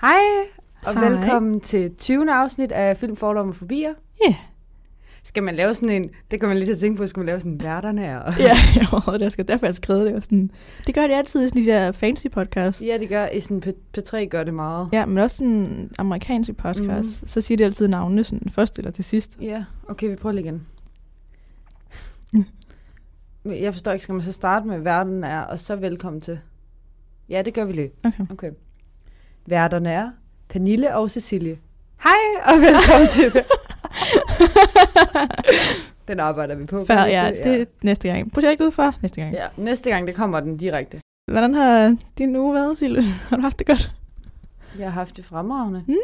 Hej, og Hej. Hej. velkommen til 20. afsnit af Film, Fordomme og Fobier. Ja. Skal man lave sådan en, det kan man lige til at tænke på, skal man lave sådan en værterne her? Og... Ja, jeg det skal derfor jeg skrevet det. Og sådan. Det gør det altid i sådan de der fancy podcast. ja, det gør, i sådan P- P3 gør det meget. Ja, men også sådan amerikanske podcast. Mm. Så siger de altid navnene sådan først eller til sidst. Ja, okay, vi prøver lige igen. Mm. Men Jeg forstår ikke, skal man så starte med Verden er, og så velkommen til? Ja, det gør vi lige. Okay. Okay. Værterne er Pernille og Cecilie. Hej, og velkommen til. Den arbejder vi på. Før, Kan vi ja, ikke det er næste gang. Projektet for næste gang. Ja. Ja, næste gang, det kommer den direkte. Hvordan har din uge været, Sille? Har du haft det godt? Jeg har haft det fremragende. Mm.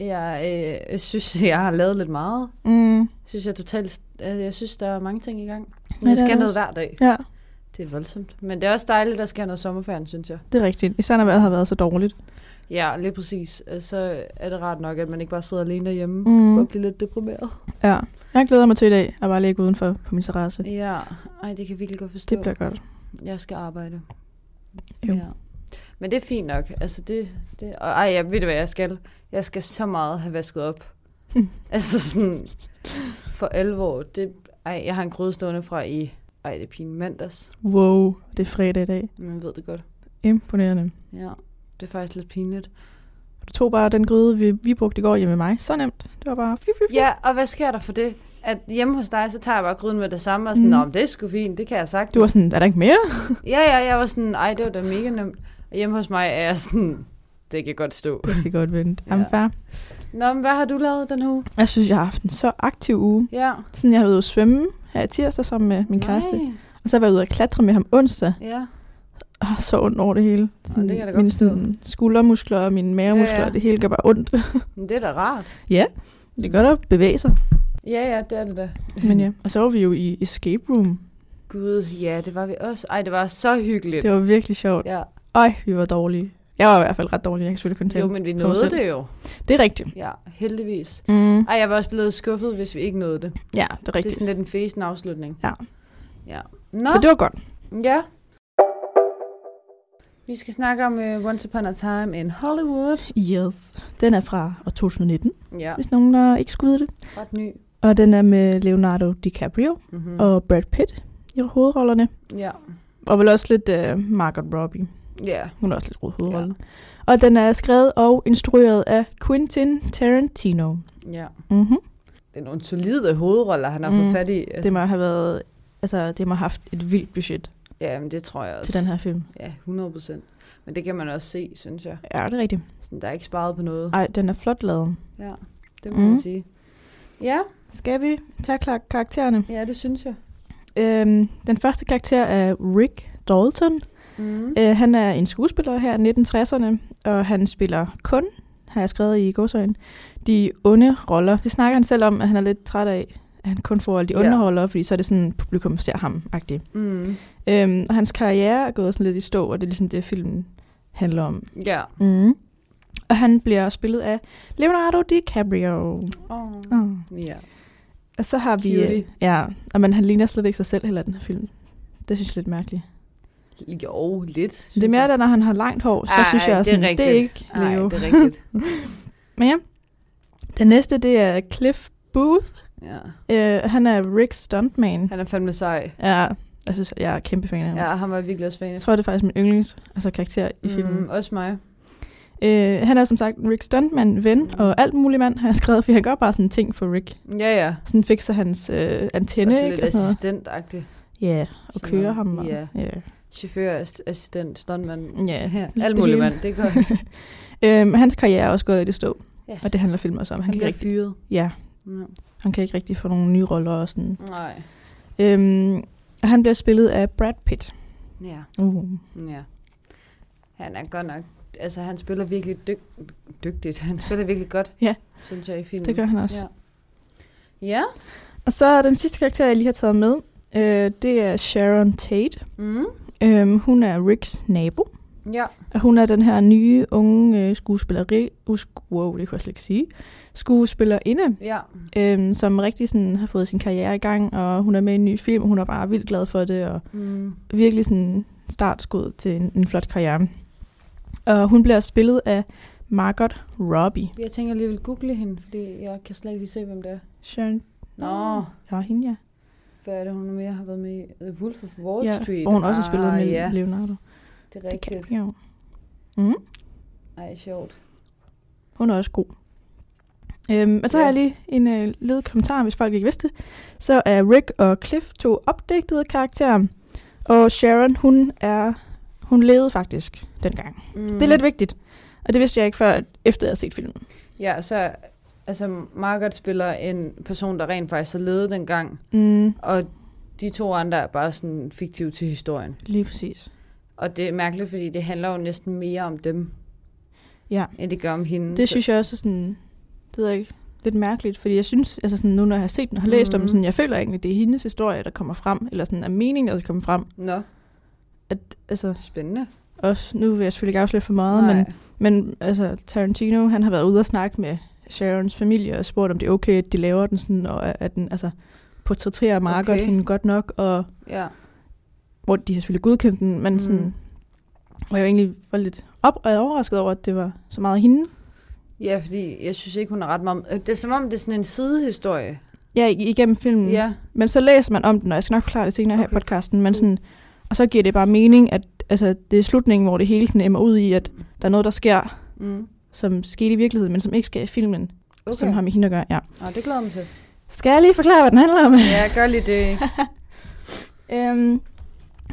Jeg øh, jeg synes, jeg har lavet lidt meget. Mm. Jeg synes, jeg, totalt, øh, jeg synes, der er mange ting i gang. det er Men jeg der skal noget også. hver dag. Ja, Det er voldsomt. Men det er også dejligt, at der sker noget i sommerferien, synes jeg. det er rigtigt. Især når vejret har været så dårligt. Ja, lige præcis. Øh, Så er det rart nok, at man ikke bare sidder alene derhjemme Mm. og bliver lidt deprimeret. Ja. Jeg glæder mig til i dag at bare ligge udenfor på min terrasse. Ja, ej, det kan jeg virkelig godt forstå. Det bliver godt. Jeg skal arbejde. Jo. Ja. Men det er fint nok. Altså det, det, og ej, jeg ved du, hvad jeg skal? Jeg skal så meget have vasket op. altså sådan, for alvor. Det, ej, jeg har en gryde stående fra i, ej, det er pin mandags. Wow, det er fredag i dag. Man ved det godt. Imponerende. Ja, det er faktisk lidt pinligt. Du tog bare den gryde, vi, vi brugte i går hjemme med mig. Så nemt. Det var bare... Flyf, flyf, flyf. Ja, og hvad sker der for det? At hjemme hos dig, så tager jeg bare gryden med det samme, og sådan, Mm. mm. nå, men det er sgu fint, det kan jeg sagtens. Du var sådan, er der ikke mere? Ja, ja, jeg var sådan, ej, det var da mega nemt. Og hjemme hos mig er jeg sådan, det kan godt stå. Det kan godt vente. Jamen, Ja. far. Nå, men hvad har du lavet den her uge? Jeg synes, jeg har haft en så aktiv uge. Ja. Sådan, jeg har været ude at svømme her i tirsdag sammen med min kæreste. Nej. Og så har jeg været ude at klatre med ham onsdag. Ja, Og så ondt over det hele. det kan jeg da godt mine forstå. sådan, skuldermuskler og mine mavemuskler, Ja, ja, ja. ja. det hele gør bare ondt. men det er da rart. ja, det er godt at bevæge sig. Ja, ja, det er det da. Men ja, og så var vi jo i escape room. Gud, ja, det var vi også. Ej, det var så hyggeligt. Det var virkelig sjovt. Ja, Øj, vi var dårlige. Jeg var i hvert fald ret dårlig, jeg kan selvfølgelig kun tale. jo, men vi for mig nåede selv. det jo. Det er rigtigt. Ja, heldigvis. Mm. Ej, jeg var også blevet skuffet, hvis vi ikke nåede det. Ja, det er Det er rigtigt. sådan lidt en fesen afslutning. Ja. Ja. Nå, Så det var godt. ja. Vi skal snakke om uh, Once Upon a Time in Hollywood. Yes. Den er fra år 2019, Ja, hvis nogen der ikke skulle vide det. ret ny. Og den er med Leonardo DiCaprio Mm-hmm. mm. og Brad Pitt i hovedrollerne. Ja. Og vel også lidt uh, Margot Robbie. Ja. Hun er også lidt hovedrollen. Ja. Og den er skrevet og instrueret af Quentin Tarantino. Ja. Mm-hmm. Det er nogle solide hovedroller, han har mm. Mm. fået fat i. Det må have været... Altså, det må have haft et vildt budget Ja, men det tror jeg også. til den her film. Ja, 100 procent. Men det kan man også se, synes jeg. Ja, det er rigtigt. Sådan, der er ikke sparet på noget. Ej, den er flot lavet. Ja, det må Mm. mm. man sige. Ja, Skal vi tage klar- karaktererne? ja, det synes jeg. Øhm, den første karakter er Rick Dalton. Mm. Øh, han er en skuespiller her i 1960'erne, og han spiller kun, har jeg skrevet i godsøjen, de onde roller. Det snakker han selv om, at han er lidt træt af, at han kun får alle de onde Ja. roller, fordi så er det sådan, publikum ser ham-agtigt. Mm. Øhm, og hans karriere er gået sådan lidt i stå, og det er ligesom det, filmen handler om. Ja. Mm. Og han bliver spillet af Leonardo DiCaprio. Oh. Oh. Ja. Og så har vi... Cutie. øh, Ja, og man, han ligner slet ikke sig selv heller i den her film. Det synes jeg er lidt mærkeligt. Jo, lidt. Synes Det er mere, da når han har langt hår, så Ej, synes jeg, det er sådan, det er rigtigt. ikke Nej, Leo. det er rigtigt. Men ja, den næste, det er Cliff Booth. Ja. Uh, han er Rick Stuntman. Han er fandme sej. Ja, jeg synes, jeg er kæmpe fan af ham. Ja, han var virkelig også fan af. Jeg tror, det er faktisk min yndlings altså, karakter i filmen. Mm, også mig. Uh, han er som sagt Rick Stuntman, ven Mm. og alt muligt mand, har jeg skrevet, for han gør bare sådan ting for Rick. Ja, ja. Sådan fikser hans øh, antenne, også ikke? lidt Og sådan noget. assistentagtig. Ja, og Sådan kører noget. ham. Og, Ja. ja. Chauffør, ass- assistent, stuntmand. ja. Ja, det alt muligt hele. mand. Det går. Han, Øhm, hans karriere er også gået i det stå, Ja. og det handler filmen også om. Han, han kan bliver ikke, fyret. ja, Ja. han kan ikke rigtig få nogle nye roller og sådan. Nej. Øhm, og han bliver spillet af Brad Pitt. Ja. Uh. Ja. Han er godt nok... Altså, han spiller virkelig dyg, dygtigt. Han spiller virkelig godt, Ja. synes jeg, i filmen. Det gør han også. Ja. Ja. Ja. Og så er den sidste karakter, jeg lige har taget med, øh, det er Sharon Tate. Mm. Øhm, hun er Ricks nabo, Ja. og hun er den her nye, unge øh, skuespilleri... Usk, wow, det kunne jeg slet ikke sige. Skuespillerinde, Ja. øhm, som rigtig sådan, har fået sin karriere i gang, og hun er med i en ny film, og hun er bare vildt glad for det, og Mm. virkelig sådan startskud til en, en flot karriere. Og hun bliver spillet af Margot Robbie. Jeg tænker lige, jeg vil google hende, fordi jeg kan slet ikke lige se, hvem det er. Sharon. Nå, Ja, hende ja. hvad er det, hun mere har været med i? The Wolf of Wall ja Street. Ah, hvor hun også har spillet med ja, Leonardo. det er Det kan rigtigt. jeg jo. Mm. Ej, sjovt. Hun er også god. Øhm, og så ja. Ja. har jeg lige en øh, lille kommentar, hvis folk ikke vidste det. Så er Rick og Cliff to opdigtede karakterer, og Sharon, hun er hun levede faktisk dengang. Mm. Mm. Det er lidt vigtigt, og det vidste jeg ikke før, at- efter jeg havde set filmen. Ja, så altså, Margaret spiller en person, der rent faktisk har levet dengang, Mm, og de to andre er bare sådan fiktive til historien. lige præcis. Og det er mærkeligt, fordi det handler jo næsten mere om dem, Ja, end det gør om hende. Mm, det Så- synes jeg også er sådan, det ved jeg ikke, lidt mærkeligt, fordi jeg synes, altså sådan, nu når jeg har set den og har læst mm. om den, Mhm. sådan, jeg føler egentlig, det er hendes historie, der kommer frem, eller sådan er meningen, der kommer frem. Nå, At, altså, spændende. også, nu vil jeg selvfølgelig ikke afsløre for meget, Nej. men Men altså, Tarantino, han har været ude og snakke med Sharons familie og spurgt, om det er okay, at de laver den sådan, og at- at den altså, portrætterer Margot okay. Okay. hende godt nok, og Ja. hvor de har selvfølgelig godkendt den, men mm. Mm. sådan, hvor jeg egentlig var lidt op og overrasket over, at det var så meget hende. ja, fordi jeg synes ikke, hun er ret meget... Øh, Det er som om, det er sådan en sidehistorie. Ja, i- igennem filmen. Mm. Ja, Men så læser man om den, og jeg skal nok forklare det senere okay. Mm. her i Okay. podcasten, men sådan, og så giver det bare mening, at altså, det er slutningen, hvor det hele sådan emmer ud i, at der er noget, der sker, mm. som skete i virkeligheden, men som ikke sker i filmen, okay. som har med hende at gøre. Ja. Nå, det glæder jeg mig til. Skal jeg lige forklare, hvad den handler om? Ja, gør lige det. Øhm,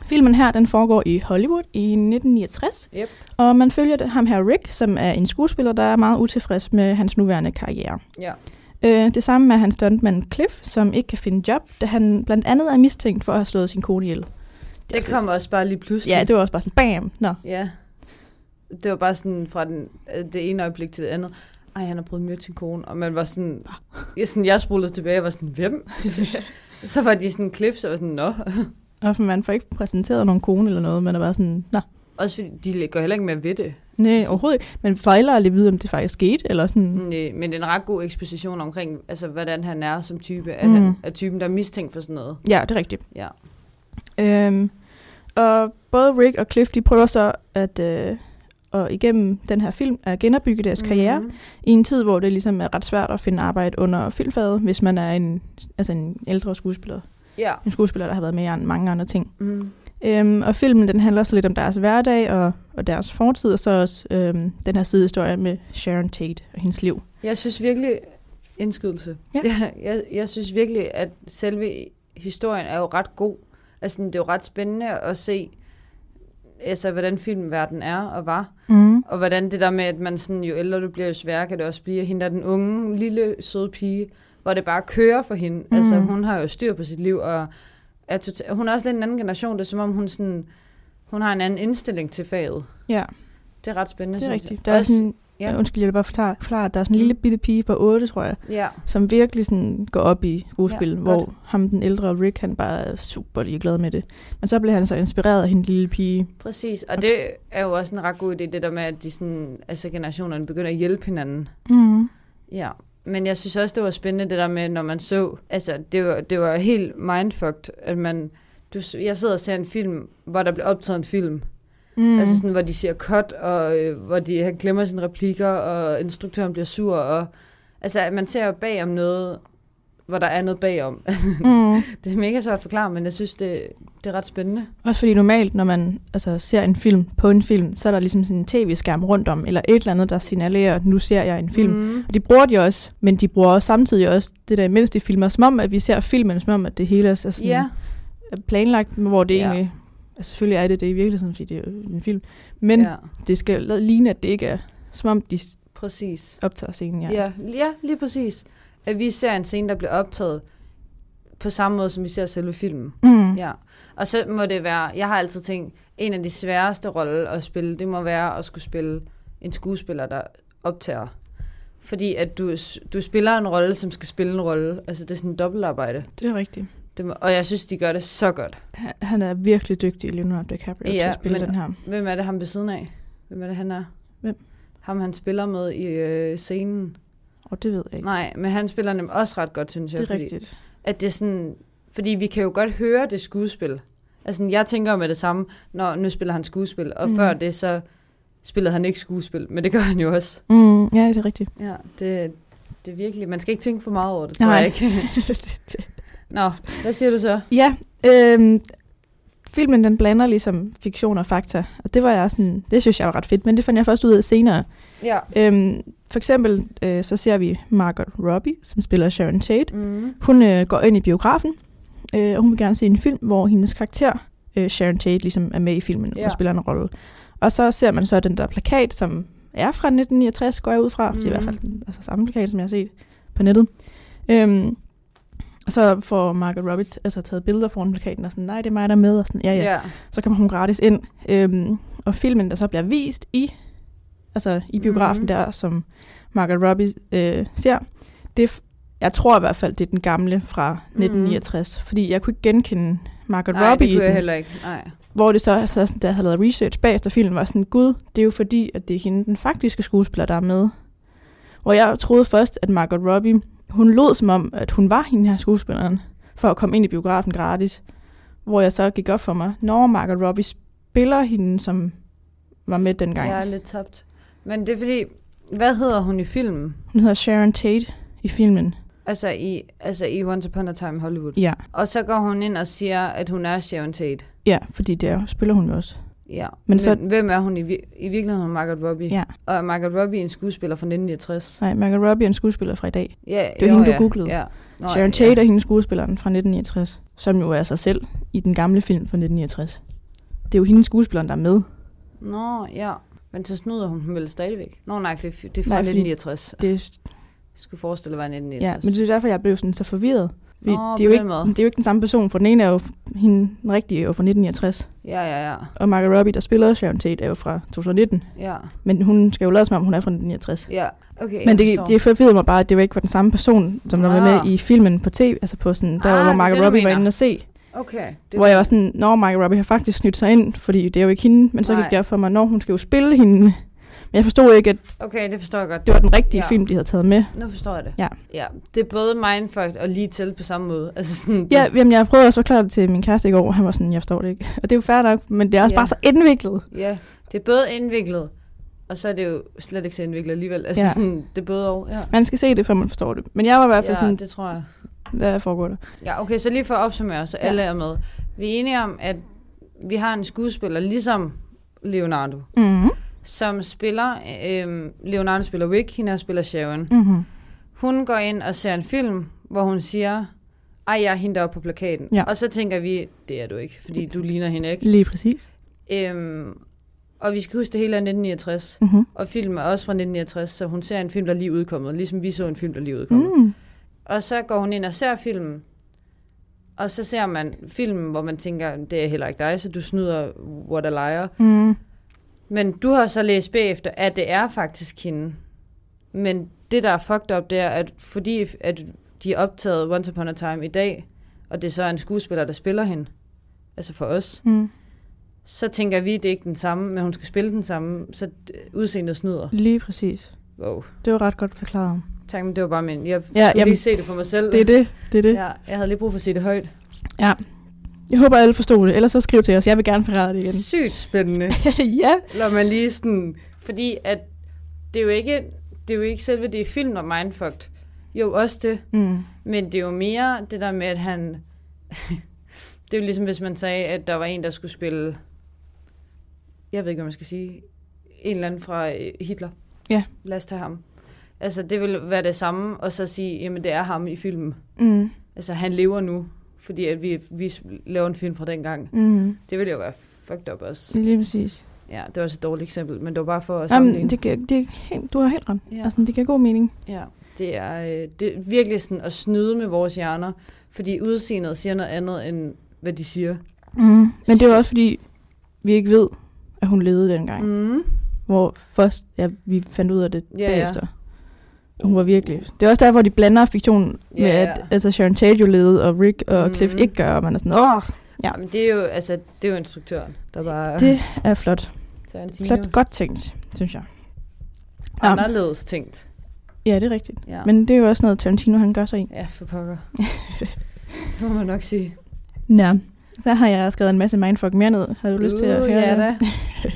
filmen her, den foregår i Hollywood i 1969, Yep. og man følger det- ham her Rick, som er en skuespiller, der er meget utilfreds med hans nuværende karriere. Ja. Øh, det samme er hans stuntmand Cliff, som ikke kan finde job, da han blandt andet er mistænkt for at have slået sin kone ihjel. Det kom også bare lige pludselig. Ja, det var også bare sådan, bam! Nå, Ja. Det var bare sådan fra den, øh, det ene øjeblik til det andet. Ej, han har prøvet at myrde sin kone. Og man var sådan... Ah. Jeg, sådan, jeg spolede tilbage og var sådan, hvem? så var de sådan klips og var sådan, nå. og man får ikke præsenteret nogen kone eller noget, man er bare sådan, nå, Også fordi de går heller ikke med ved det. nej, overhovedet ikke. Man fejler at vide, om det faktisk skete, eller sådan, mm. Næ, Øh, Men det er en ret god eksposition omkring, altså, hvordan han er som type. Er, Mm. mm. han, er typen, der er mistænkt for sådan noget. ja, det er rigtigt. Ja. Øhm, og både Rick og Cliff, de prøver så at, øh, og igennem den her film at genopbygge deres mm-hmm. karriere Mm. i en tid, hvor det ligesom er ret svært at finde arbejde under filmfaget, hvis man er en, altså en ældre skuespiller. Ja. En skuespiller, der har været med i an- mange andre ting. Mm. Øhm, og filmen, den handler så lidt om deres hverdag og, og deres fortid, og så også øhm, den her sidehistorie med Sharon Tate og hendes liv. Jeg synes virkelig... Indskydelse. Ja. Jeg, jeg, jeg synes virkelig, at selve historien er jo ret god. Altså, det er jo ret spændende at se, altså, hvordan filmverden er og var. Mm. Og hvordan det der med, at man sådan, jo ældre du bliver, jo sværere kan det også blive. Og hende der er den unge, lille, søde pige, hvor det bare kører for hende. Mm. Altså, Mm. hun har jo styr på sit liv, og er total- hun er også lidt en anden generation. Det er som om, hun, sådan, hun har en anden indstilling til faget. Ja, Det er ret spændende, det er synes rigtigt. jeg. Der er Altså, Også- sådan, ja. ja. Undskyld, jeg vil bare forklare, forklare, at der er sådan en lille bitte pige på 8, tror jeg, ja. som virkelig sådan går op i skuespil, ja, Ja, hvor godt. ham den ældre Rick, han bare er super ligeglad med det. Men så blev han så inspireret af hende lille pige. Præcis, og det er jo også en ret god idé, det der med, at de sådan, altså generationerne begynder at hjælpe hinanden. Mm. Ja, men jeg synes også, det var spændende det der med, når man så, altså det var, det var helt mindfucked, at man, du, s- jeg sidder og ser en film, hvor der bliver optaget en film, Mm. mm. altså sådan, hvor de siger cut, og øh, hvor de, han glemmer sine replikker, og instruktøren bliver sur, og altså at man ser jo bag om noget, hvor der er noget bagom. mm. det er mega svært at forklare, men jeg synes, det, det er ret spændende. Også fordi normalt, når man altså, ser en film på en film, så er der ligesom sådan en tv-skærm rundt om, eller et eller andet, der signalerer, nu ser jeg en film. Mm. Mm. Og de bruger det også, men de bruger også samtidig også det der, imens de filmer, som om, at vi ser filmen, som om, at det hele er så sådan, Ja, er planlagt, men hvor det Ja. egentlig... Altså selvfølgelig er det det i virkeligheden, fordi det er jo en film. Men ja. ja, det skal ligne, at det ikke er, som om de præcis. optager scenen, ja. Ja. Ja, ja, lige præcis. At vi ser en scene, der bliver optaget på samme måde, som vi ser selve filmen. Mm. Ja. Og så må det være, jeg har altid tænkt, en af de sværeste roller at spille, det må være at skulle spille en skuespiller, der optager. Fordi at du, du spiller en rolle, som skal spille en rolle. Altså det er sådan en dobbeltarbejde. Det er rigtigt. Det må, og jeg synes, de gør det så godt. Han- Han er virkelig dygtig, Leonardo DiCaprio, ja, til Ja, at spille men- den her. Hvem er det ham ved siden af? Hvem er det, han er? Hvem? Ham, han spiller med i øh, scenen. Og det ved jeg ikke. Nej, men han spiller nemlig også ret godt, synes jeg. det er fordi- rigtigt. at det er sådan, fordi vi kan jo godt høre det skuespil. Altså, sådan, jeg tænker med det samme, når nu spiller han skuespil, og Mm. mm. før det, så spillede han ikke skuespil, men det gør han jo også. Mm, ja, det er rigtigt. Ja, det, det er virkelig... Man skal ikke tænke for meget over det, tror Nej. jeg ikke. Nå, hvad siger du så? ja, øhm, filmen den blander ligesom fiktion og fakta, og det var jeg sådan, det synes jeg var ret fedt, men det fandt jeg først ud af senere. Ja. Øhm, for eksempel øh, så ser vi Margot Robbie, som spiller Sharon Tate. Mm. Hun øh, går ind i biografen, øh, og hun vil gerne se en film, hvor hendes karakter, øh, Sharon Tate, ligesom er med i filmen Ja. og spiller en rolle. Og så ser man så den der plakat, som er fra 1969, går jeg ud fra. Mm. Det er i Mhm. hvert fald den altså, samme plakat, som jeg har set på nettet. Øhm, og så får Margaret Robbie altså, taget billeder foran plakaten og sådan, nej, det er mig, der er med. Og sådan, ja, ja. ja. Så kommer hun gratis ind. Øhm, og filmen, der så bliver vist i, altså i biografen Mhm. mm. der, som Margaret Robbie øh, ser, det, er f- jeg tror i hvert fald, det er den gamle fra 1969. Fordi jeg kunne ikke genkende Margaret Mhm. Nej, Robbie det i kunne jeg den, heller ikke. Nej. hvor det så, altså, sådan, da jeg havde lavet research bagefter filmen, var sådan, gud, det er jo fordi, at det er hende, den faktiske skuespiller, der er med. Hvor jeg troede først, at Margot Robbie, hun lod som om, at hun var hende her skuespilleren, for at komme ind i biografen gratis. Hvor jeg så gik op for mig, når Margot Robbie spiller hende, som var med dengang. Jeg er lidt tabt. Men det er fordi... Hvad hedder hun i filmen? Hun hedder Sharon Tate i filmen. Altså i, altså i Once Upon a Time i Hollywood. Ja, Og så går hun ind og siger, at hun er Sharon Tate. ja fordi der spiller hun jo også. Ja. Men Men, så- så... hvem er hun i, vir- i virkeligheden? Hun er Margot Robbie. Ja. Og er Margot Robbie en skuespiller fra 1969? Nej, Margot Robbie er en skuespiller fra i dag. Ja, det er hende, du googlede. Ja. Nå, Sharon Tate er hende skuespilleren fra 1969, som jo er sig selv i den gamle film fra 1969. Det er jo hende skuespilleren, der er med. Ja. Nå, ja. Men så snyder hun dem vel stadigvæk. Nå nej, for det er fra fordi- 1969. Det, Jeg skulle forestille mig ja, 1969. men det er derfor, jeg blev sådan så forvirret. Fordi Nå, det, er jo på ikke, den måde. det er jo ikke den samme person, for den ene er jo f- hende, den rigtige er jo fra 1969, Ja, ja, ja. og Margot Robbie, der spiller Sharon Tate, er jo fra 2019. Ja, Men hun skal jo lade som om, hun er fra 1969. ja. Okay, jeg Men det, forstår. det forvirrede mig bare, at det jo ikke var den samme person, som der var Ah. med i filmen på tv, altså på sådan, der Ah, ah, det hvor er Margot det, du Robbie var mener. inde og se. Okay. Det hvor jeg var sådan, når Margot Robbie har faktisk snydt sig ind, fordi det er jo ikke hende, men så Nej. gik det op for mig, når hun skal jo spille hende. Men jeg forstod ikke, at Okay, det forstår jeg godt. det var den rigtige Ja. ja. film, de havde taget med. Nu forstår jeg det. Ja. ja. Det er både mindfuck og lige til på samme måde. Altså sådan, Ja, jamen, jeg prøvede også at forklare det til min kæreste i går, og han var sådan, jeg forstår det ikke. Og det er jo fair nok, men det er også Ja. ja. bare så indviklet. Ja, det er både indviklet, og så er det jo slet ikke så indviklet alligevel. Altså ja. Ja. sådan, det er både og. Ja, Man skal se det, før man forstår det. Men jeg var i hvert fald ja, ja sådan, det tror jeg. hvad foregår der? Ja, okay, så lige for at opsummere, så Ja. alle er med. Vi er enige om, at vi har en skuespiller, ligesom Leonardo, Mm-hmm. som spiller, øh, Leonardo spiller Wick, hende her spiller Sharon. Mm-hmm. Hun går ind og ser en film, hvor hun siger, ej, jeg er hende deroppe på plakaten. Ja. Og så tænker vi, det er du ikke, fordi du ligner hende ikke. Lige præcis. Øhm, og vi skal huske, det hele er 1969. Mm-hmm. Og filmen er også fra 1969, så hun ser en film, der er lige er udkommet, ligesom vi så en film, der lige er udkommet. Mm. Mm. Og så går hun ind og ser filmen, og så ser man filmen, hvor man tænker, det er heller ikke dig, så du snyder, what a liar. Mm. Men du har så læst bagefter, at det er faktisk hende. Men det, der er fucked up, det er, at fordi at de er optaget Once Upon a Time i dag, og det så er en skuespiller, der spiller hende, altså for os, Mm. så tænker vi, det er ikke den samme, men hun skal spille den samme, så øh, udseendet snyder. Lige præcis. Wow. Det var ret godt forklaret. Tak, men det var bare min... Jeg Ja, ja, kunne jamen, lige se det for mig selv. Det er det. Det er det. Ja. Ja, jeg havde lige brug for at sige det højt. Jeg håber, alle forstod det. Ellers så skriv til os. Jeg vil gerne forklare det igen. Sygt spændende. ja. Når man lige sådan... Fordi at det er jo ikke, det er jo ikke selve det i film og mindfucked. Jo, også det. Mm. Men det er jo mere det der med, at han... det er jo ligesom, hvis man sagde, at der var en, der skulle spille... Jeg ved ikke, hvad man skal sige. En eller anden fra øh, Hitler. Ja. Lad os tage ham. Altså, det vil være det samme, og så sige, jamen, det er ham i filmen. Mm. Altså, han lever nu, fordi at vi, vi laver en film fra dengang. Mm. Det ville jo være fucked up også. Lige præcis. Ja, det var også et dårligt eksempel, men det var bare for at Jamen, sammenligne. det giver, det giver helt, du har helt ret. Ja. Ja. Altså, det giver god mening. Ja, det er, øh, det er virkelig sådan at snyde med vores hjerner, fordi udseendet siger noget andet, end hvad de siger. Mm. Men det er jo også fordi, vi ikke ved, at hun levede dengang. Mm. Mm. Hvor først, ja, vi fandt ud af det Ja, ja, ja. bagefter. Ja. Hun var virkelig. Det er også derfor, de blander fiktion Ja, ja, med, ja. at altså, Sharon Tate jo levede, og Rick og Mm. mm. Cliff ikke gør, og man er sådan, åh, Ja. Jamen, det er jo, altså, det er jo instruktøren, der bare det er flot. Tarantino. Flot godt tænkt, synes jeg. Ja, anderledes tænkt. ja, det er rigtigt. Ja. Men det er jo også noget, Tarantino han gør sig i. ja, for pokker. det må man nok sige. Nå, så har jeg skrevet en masse mindfuck mere ned. Har du lyst til at Uh, høre ja, det? da.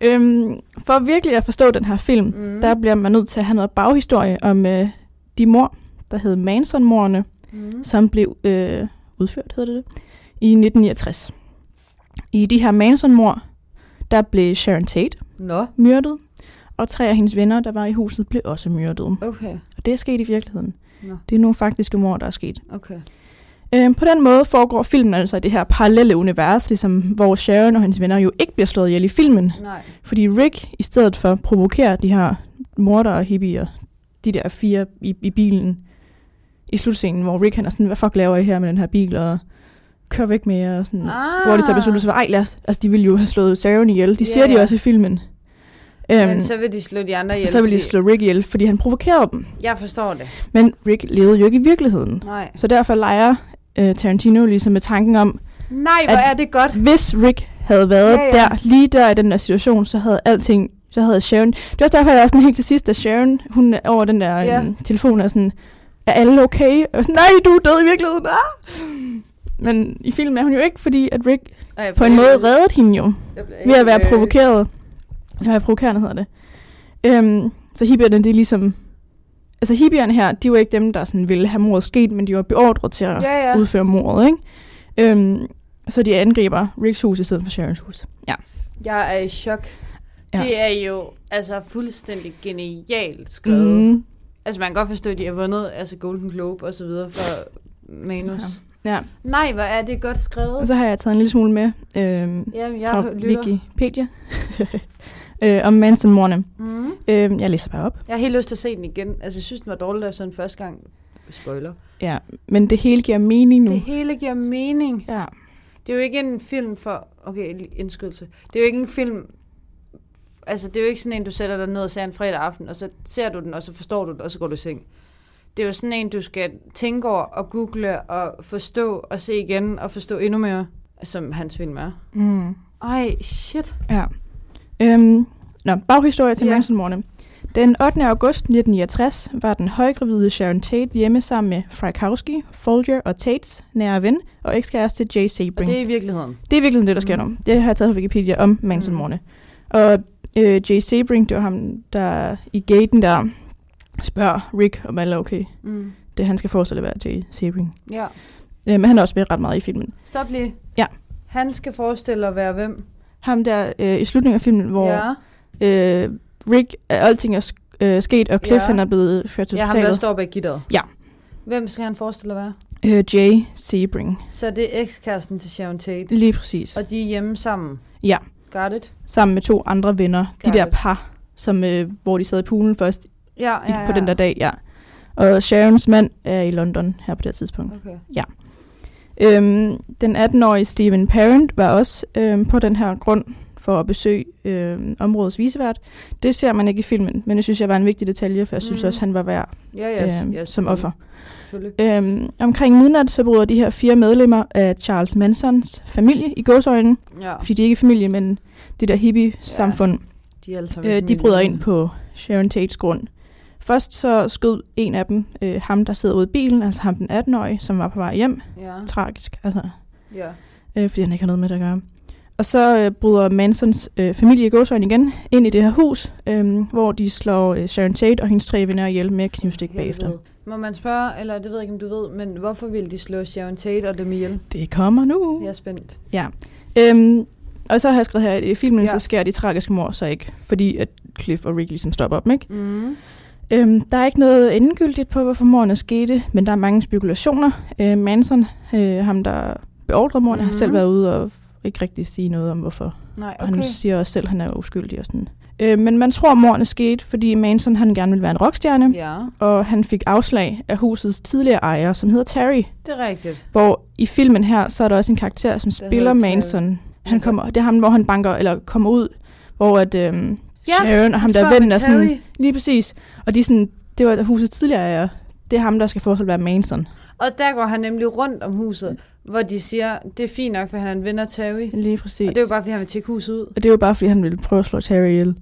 Øhm, for virkelig at forstå den her film, mm. Mm. der bliver man nødt til at have noget baghistorie om øh, de mor, der hed Manson-morerne, mm. som blev øh, udført, hedder det, det i 1969. I de her Manson-mor, der blev Sharon Tate Nå, myrdet, og tre af hendes venner, der var i huset, blev også myrdet. okay. Og det er sket i virkeligheden. Nå, Det er nogle faktiske mor, der er sket. okay. Øhm, på den måde foregår filmen altså i det her parallelle univers, ligesom hvor Sharon og hendes venner jo ikke bliver slået ihjel i filmen, Nej. fordi Rick i stedet for provokerer de her morder og hippier, de der fire i, i bilen i slutscenen, hvor Rick han er sådan, hvad fuck laver I her med den her bil, og kør væk med jer, og sådan. Ah. Ah, Hvor de så beslutter sig, for, ej lad os, altså de ville jo have slået Sharon ihjel, de Ja, siger de ja. også i filmen. Øhm, Men så vil de slå de andre ihjel. så vil de fordi- slå Rick ihjel, fordi han provokerer dem. Jeg forstår det. Men Rick levede jo ikke i virkeligheden. Nej. Så derfor leger øh, Tarantino ligesom med tanken om, Nej, hvor At- er det godt. hvis Rick havde været Ja, ja, ja. ja. der, lige der i den der situation, så havde alting, så havde Sharon... Det er også derfor, jeg er sådan helt til sidst, da Sharon, hun er over den der Ja. ja. telefon, er sådan, er alle okay? Og jeg er sådan, nej, du er død i virkeligheden. Ah! Men i filmen er hun jo ikke, fordi at Rick Ej, på en måde reddede hende jo, ved at øh, være provokeret. Ved at være provokerende hedder det. Øhm, så hippierne, det er ligesom... Altså hippierne her, de var ikke dem, der sådan ville have mordet sket, men de var beordret til at Ja, ja. udføre mordet, ikke? Øhm, så de angriber Ricks hus i stedet for Sharons hus. Ja. Jeg er i chok. Ja. Ja. Det er jo altså fuldstændig genialt skrevet. Mm. Mhm. Altså man kan godt forstå, at de har vundet altså Golden Globe og så videre for manus. Ja. ja. Nej, hvor er det godt skrevet. Og så har jeg taget en lille smule med øhm, Jamen, jeg fra lytter. Wikipedia øh, om Manson-morne. Mm. Øhm, jeg læser bare op. Jeg har helt lyst til at se den igen. Altså jeg synes, den var dårlig, da jeg så den første gang. Spoiler. Ja, men det hele giver mening nu. Det hele giver mening. Ja. Det er jo ikke en film for... Okay, lige indskydelse. Det er jo ikke en film... Altså, det er jo ikke sådan en, du sætter dig ned og ser en fredag aften, og så ser du den, og så forstår du den, og så går du i seng. Det er jo sådan en, du skal tænke over og google og forstå og se igen og forstå endnu mere, som hans film er. Mm. Ej, shit. Ja. Øhm, nå, baghistorie til Ja. ja. Manson-morgene. Den 8. august 1969 var den højgravide Sharon Tate hjemme sammen med Frykowski, Folger og Tates nære ven og ekskæreste Jay Og Sebring. det er i virkeligheden. Det er virkelig det, der sker Mm. mm. nu. Det har jeg taget fra Wikipedia om Manson-morgene. Og øh, Jay Sebring, det var ham, der i gaten der spørger Rick, om alle er okay. Mm. Det han skal forestille at være Jay Sebring. Ja. Øh, men han er også med ret meget i filmen. Stop lige. Ja. Han skal forestille at være hvem? Ham der øh, i slutningen af filmen, hvor Ja, øh, Rick, at alting er sk- øh, sket, og Cliff Ja. ja. han er blevet ført til ja ham der hospitalet. står bag gitteret. Ja. Hvem skal han forestille at være? Øh, Jay Sebring. Så det er ekskæresten til Sharon Tate. Lige præcis. Og de er hjemme sammen. Ja, Got it? sammen med to andre venner. Got De der it. par, som, øh, hvor de sad i poolen først i, Ja, ja, ja. på den der dag, ja. Og Sharons mand er i London her på det her tidspunkt. Okay. Øhm, den 18-årige Steven Parent var også øhm, på den her grund for at besøge øhm, områdets visevært. Det ser man ikke i filmen, men det synes jeg var en vigtig detalje, for jeg synes Mhm. også, han var værd Ja, ja, øhm, ja som offer. Selvfølgelig. Øhm, omkring midnat, så bryder de her fire medlemmer af Charles Mansons familie i gåsøjne, Ja, fordi de er ikke familie, men det der hippie-samfund, de er alle sammen. ja. øh, de bryder ind på Sharon Tates grund. Først så skød en af dem, øh, ham der sidder ude i bilen, altså ham den 18-årige, som var på vej hjem. Ja, Tragisk, altså, ja. øh, fordi han ikke har noget med det at gøre. Og så øh, bryder Mansons øh, familie i gåsøjne igen ind i det her hus, øh, hvor de slår øh, Sharon Tate og hendes tre venner ihjel med knivstik bagefter. Helvede. Må man spørge, eller det ved jeg ikke, om du ved, men hvorfor ville de slå Sharon Tate og dem ihjel? Det kommer nu. Jeg er spændt. Øhm, og så har jeg skrevet her, at i filmen Ja. ja. så sker de tragiske mor så ikke, fordi at Cliff og Rick ligesom stopper dem, ikke? Mm. Øhm, der er ikke noget endegyldigt på, hvorfor morerne skete, men der er mange spekulationer. Øh, Manson, øh, ham der beordrede morerne, mm-hmm. Mhm. har selv været ude og ikke rigtig sige noget om hvorfor. Nej, Og han okay. siger også selv, at han er uskyldig og sådan. Øh, men man tror, at morerne skete, fordi Manson han gerne ville være en rockstjerne, Ja, og han fik afslag af husets tidligere ejer, som hedder Terry. det er rigtigt. Hvor i filmen her, så er der også en karakter, som hedder spiller Terry. Manson. Han Okay. kommer, det er ham, hvor han banker, eller kommer ud, hvor at, øhm, Ja, ja, Sharon og ham, der Tror er jeg vennen, med er sådan, Terry. lige præcis. Og de er sådan, det var huset tidligere, og det er ham, der skal forestille at være Manson. Og der går han nemlig rundt om huset, hvor de siger, det er fint nok, for han er en ven af Terry. Lige præcis. Og det er jo bare, fordi han vil tjekke huset ud. og det er jo bare, fordi han ville prøve at slå Terry ihjel.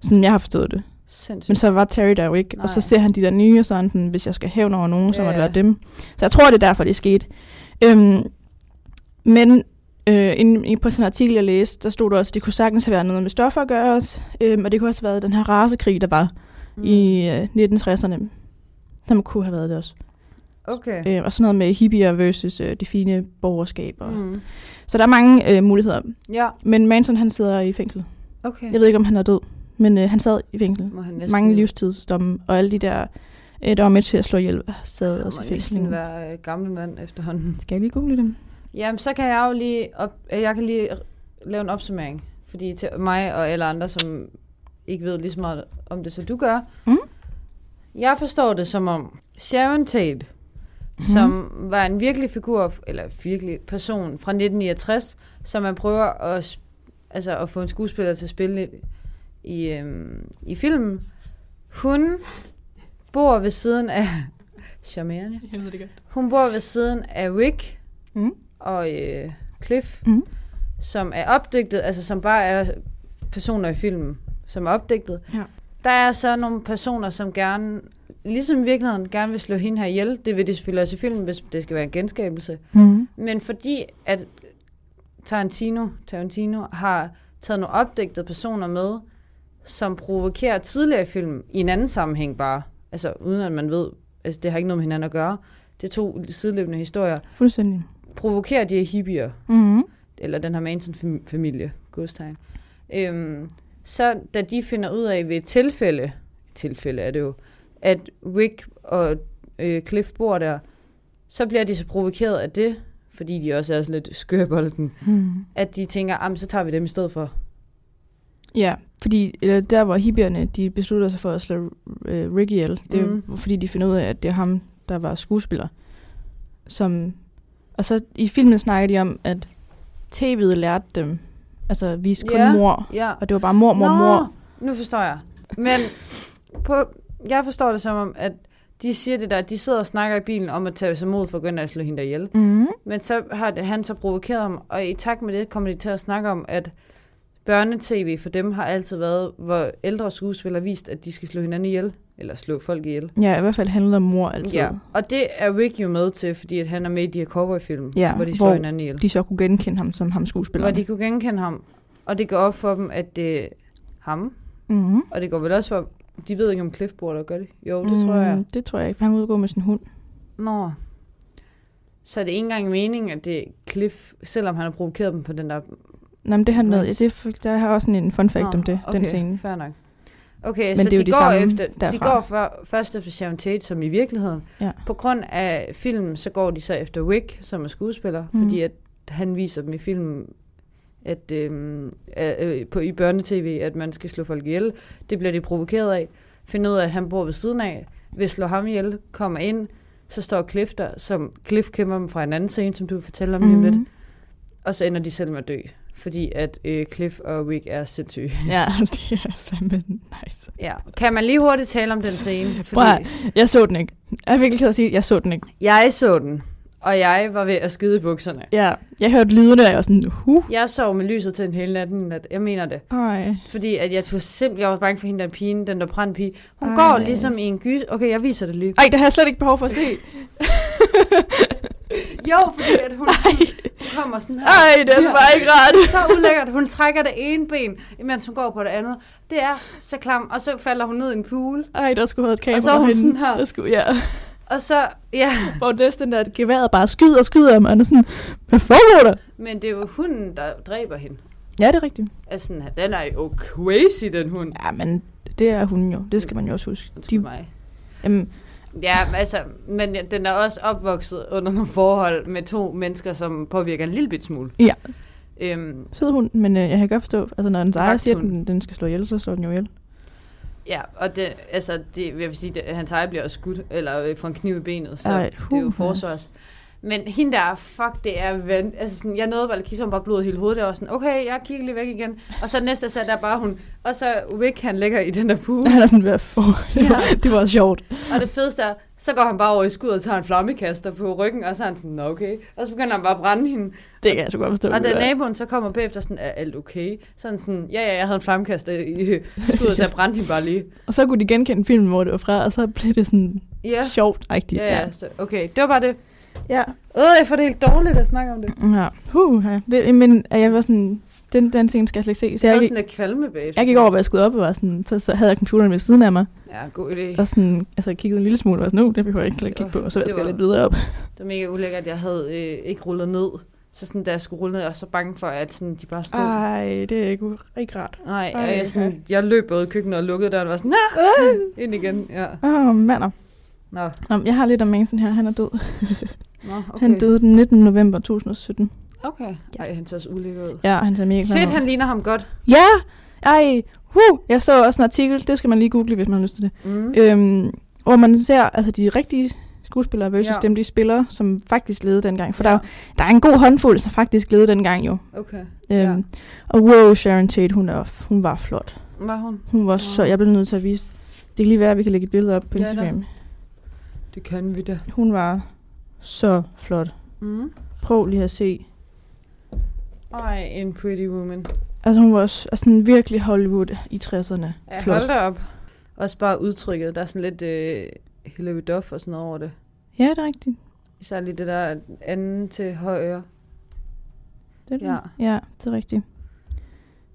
Sådan jeg har forstået det. Men Sindssygt. så var Terry der jo ikke. Nej. Og Nej. så ser han de der nye, og så er han sådan, hvis jeg skal hævne over nogen, så må Ja, det ja. være dem. Så jeg tror, det er derfor, det skete. Øhm, men Øh, inde, inde på sådan en artikel, jeg læste, der stod der også, at det kunne sagtens have været noget med stoffer at gøre os, øh, og det kunne også have været den her rasekrig, der var mm. i øh, 1960'erne. Der kunne have været det også. Okay. Øh, og sådan noget med hippier versus øh, det fine borgerskab. Og. Mm. Mm. Så der er mange øh, muligheder. Ja, Men Manson, han sidder i fængsel. okay. Jeg ved ikke, om han er død, men øh, han sad i fængsel. Må han Mange livstidsdomme, og alle de der, øh, der var med til at slå ihjel, sad Han også må i fængsel. næsten være øh, gammel mand efterhånden. Skal jeg lige google dem? Jamen, så kan jeg jo lige, op, øh, jeg kan lige lave en opsummering. Fordi til mig og alle andre, som ikke ved lige så meget om det, som du gør. Mhm. Jeg forstår det som om Sharon Tate, som var en virkelig figur, eller virkelig person fra 1969, som man prøver at, s- altså at få en skuespiller til at spille i, i, øhm, i filmen. Hun bor ved siden af... Charmerende. Jeg ved det godt. Hun bor ved siden af Rick Mm. og øh, Cliff, Mhm. som er opdigtet, altså som bare er personer i filmen, som er opdigtet. Ja. Der er så nogle personer, som gerne, ligesom i virkeligheden, gerne vil slå hende her ihjel. Det vil de selvfølgelig også i filmen, hvis det skal være en genskabelse. Mm. Men fordi at Tarantino, Tarantino har taget nogle opdigtede personer med, som provokerer tidligere film i en anden sammenhæng bare, altså uden at man ved, altså det har ikke noget med hinanden at gøre. Det er to sideløbende historier. Fuldstændig. Provokerer de her hippier, Mm. eller den her Manson-familie, godstegn. Øhm, så da de finder ud af ved et tilfælde, tilfælde er det jo, at Wick og øh, Cliff bor der, så bliver de så provokeret af det, fordi de også er sådan lidt skøre i bolden, Mm. at de tænker, "Am, så tager vi dem i stedet for. Ja, fordi eller der hvor hippierne, de beslutter sig for at slå øh, Ricky ihjel, det er mm. Mm. fordi de finder ud af, at det er ham, der var skuespiller. Som, og så i filmen snakker de om, at tv'et lærte dem, altså viste kun Ja. mor, Ja. og det var bare mor, mor, mor. nu forstår jeg. Men på, jeg forstår det som om, at de siger det der, at de sidder og snakker i bilen om at tage sig mod for at gå ind og slå hende ihjel. Mm. Men så har det- han så provokeret ham, og i takt med det kommer de til at snakke om, at børnetv for dem har altid været, hvor ældre skuespillere har vist, at de skal slå hinanden ihjel, eller slå folk ihjel. Ja, i hvert fald handlede om mor altid. Ja, og det er Rick jo med til, fordi at han er med i de her cowboyfilm, Ja, hvor de slår hvor hinanden ihjel. De så kunne genkende ham som ham skuespilleren. Hvor de kunne genkende ham, og det går op for dem, at det er ham, Mm. og det går vel også for, de ved ikke om Cliff bor der, gør det? Jo, det mm. tror jeg. Det tror jeg ikke, for han var ude at gå med sin hund. Mm. Nå. Så er det ikke engang meningen, at det er Cliff, selvom han har provokeret dem på den der Nå, men det han med, ja, Nice. det, er f- der har også en fun fact Nå, om det, okay, den scene. fair nok. Okay, Men så det er jo de, de går samme efter, de derfra. går for, først efter Sharon Tate, som i virkeligheden. Ja. På grund af filmen, så går de så efter Wick, som er skuespiller, Mhm. mm. fordi at han viser dem i filmen, at øhm, øh, øh, på, i børnetv, at man skal slå folk ihjel. Det bliver de provokeret af. Finder ud af, at han bor ved siden af, vil slå ham ihjel, kommer ind, så står Cliff der, som Cliff kæmper dem fra en anden scene, som du vil fortælle om mm. lige om lidt. Mhm. Og så ender de selv med at dø, fordi at øh, Cliff og Wick er sindssyge. Ja, det er fandme nice. Ja, kan man lige hurtigt tale om den scene? Prøv at- Fordi Jeg så den ikke. Jeg er virkelig ked af at sige, at jeg så den ikke. jeg så den, og jeg var ved at skide i bukserne. Ja, jeg hørte lydene, og jeg var sådan, huh. Jeg sov med lyset til den hele natten, nat. jeg mener det. Ej. Fordi at jeg tog simpelthen, jeg var bange for hende der pigen, den der brændte pige. Hun Ej. Ej. går ligesom i en gys. Okay, jeg viser det lige. Ej, det har jeg slet ikke behov for at se. Jo, fordi at hun sådan, kommer sådan her. Ej, det er så bare ikke rart. så ulækkert. Hun trækker det ene ben, imens hun går på det andet. Det er så klam, og så falder hun ned i en pool. Ej, der skulle have et kamera Og så er hun henne. sådan her. Der skulle, ja. Og så, ja, Hvor næsten der at geværet bare skyder og skyder om, og han er sådan, hvad foregår der? men det er jo hunden, der dræber hende. Ja, det er rigtigt. Altså, sådan, den er jo crazy, den hund. Ja, men det er hun jo. Det skal man jo også huske. Undskyld De, mig. jamen, Ja, men altså, men den er også opvokset under nogle forhold med to mennesker, som påvirker en lille bit smule. Ja. Øhm, sød hund, men øh, jeg kan godt forstå, altså når den ejer siger, at Vagthund. den, den skal slå ihjel, så slår den jo ihjel. ja, og det, altså, det, jeg vil sige, at hans ejer bliver også skudt, eller øh, får en kniv i benet, så Ej, Ej, det er jo huha. forsvars. Men hende der, fuck, det er ven. Altså, sådan, jeg nåede bare at kigge, så hun bare blod hele hovedet. Jeg var sådan, okay, jeg kigger lige væk igen. Og så næste sat der bare hun. Og så Wick, han ligger i den der pool. Han er sådan ved at få. Det var, ja. det var sjovt. Og det fedeste er, så går han bare over i skuddet og tager en flammekaster på ryggen, og så er han sådan, "Nå, okay. Og så begynder han bare at brænde hende. Det kan jeg så godt forstå. Og da det der. naboen så kommer bagefter, sådan, er alt okay? Sådan sådan, ja, ja, jeg havde en flammekaster i skuddet, så jeg brændte hende bare lige. Og så kunne de genkende filmen, hvor det var fra, og så blev det sådan Ja, sjovt. Ej, det ja, ja, så, okay, det var bare det. Ja. Øh, jeg får det helt dårligt at snakke om det. Ja. Huh, ja. Det, men at jeg var sådan, den, den ting skal jeg slet ikke se. Så Det er jeg, også gik, sådan lidt kvalme bagefter. jeg gik over, hvad jeg skulle op og var sådan, så, så havde jeg computeren ved siden af mig. Ja, god idé. Og sådan, altså jeg kiggede en lille smule og var sådan, nu, det behøver jeg ikke slet ikke kigge på. Og så Det skal jeg var- lidt videre op. Det var mega ulækkert, at jeg havde øh, ikke rullet ned. Så sådan, da jeg skulle rulle ned, jeg var så bange for, at sådan, de bare stod. Ah. Ej, det er ikke, ikke rart. Nej, og Ej, jeg, sådan, jeg løb både i køkkenet og lukkede døren og var sådan, nah! ind igen. Ja. Åh, oh, mander. Nå, Nå, men jeg har lidt om Manson her, han er død. Nå okay. Okay. Han døde den 19. november 2017. Okay. Ja. Ej, han ser også ulækker ud. Ja, han ser mega klam Shit, ud. han ligner ham godt. Ja! Ej, huh! Jeg så også en artikel, det skal man lige google, hvis man har lyst til det. Mm. Øhm, hvor man ser altså de rigtige skuespillere versus Ja. ja. dem, de spiller, som faktisk levede dengang. For ja. der, Ja. er jo- der er en god håndfuld, som faktisk levede dengang jo. Okay. Øhm, Ja. Og wow, Sharon Tate, hun, er, hun var flot. Var hun? Hun var så... Jeg blev nødt til at vise... Det kan lige være, at vi kan lægge et billede op på Ja, da. Instagram. Det kan vi da. Hun var så flot. Mm. Prøv lige at se. Ej, en pretty woman. Altså hun var også altså, sådan virkelig Hollywood i 60'erne. Ja, flot. hold da op. Også bare udtrykket. Der er sådan lidt øh, Hillary Duff og sådan noget over det. Ja, det er rigtigt. Især lige det der anden til højre. Det er det. Ja. ja, det er rigtigt.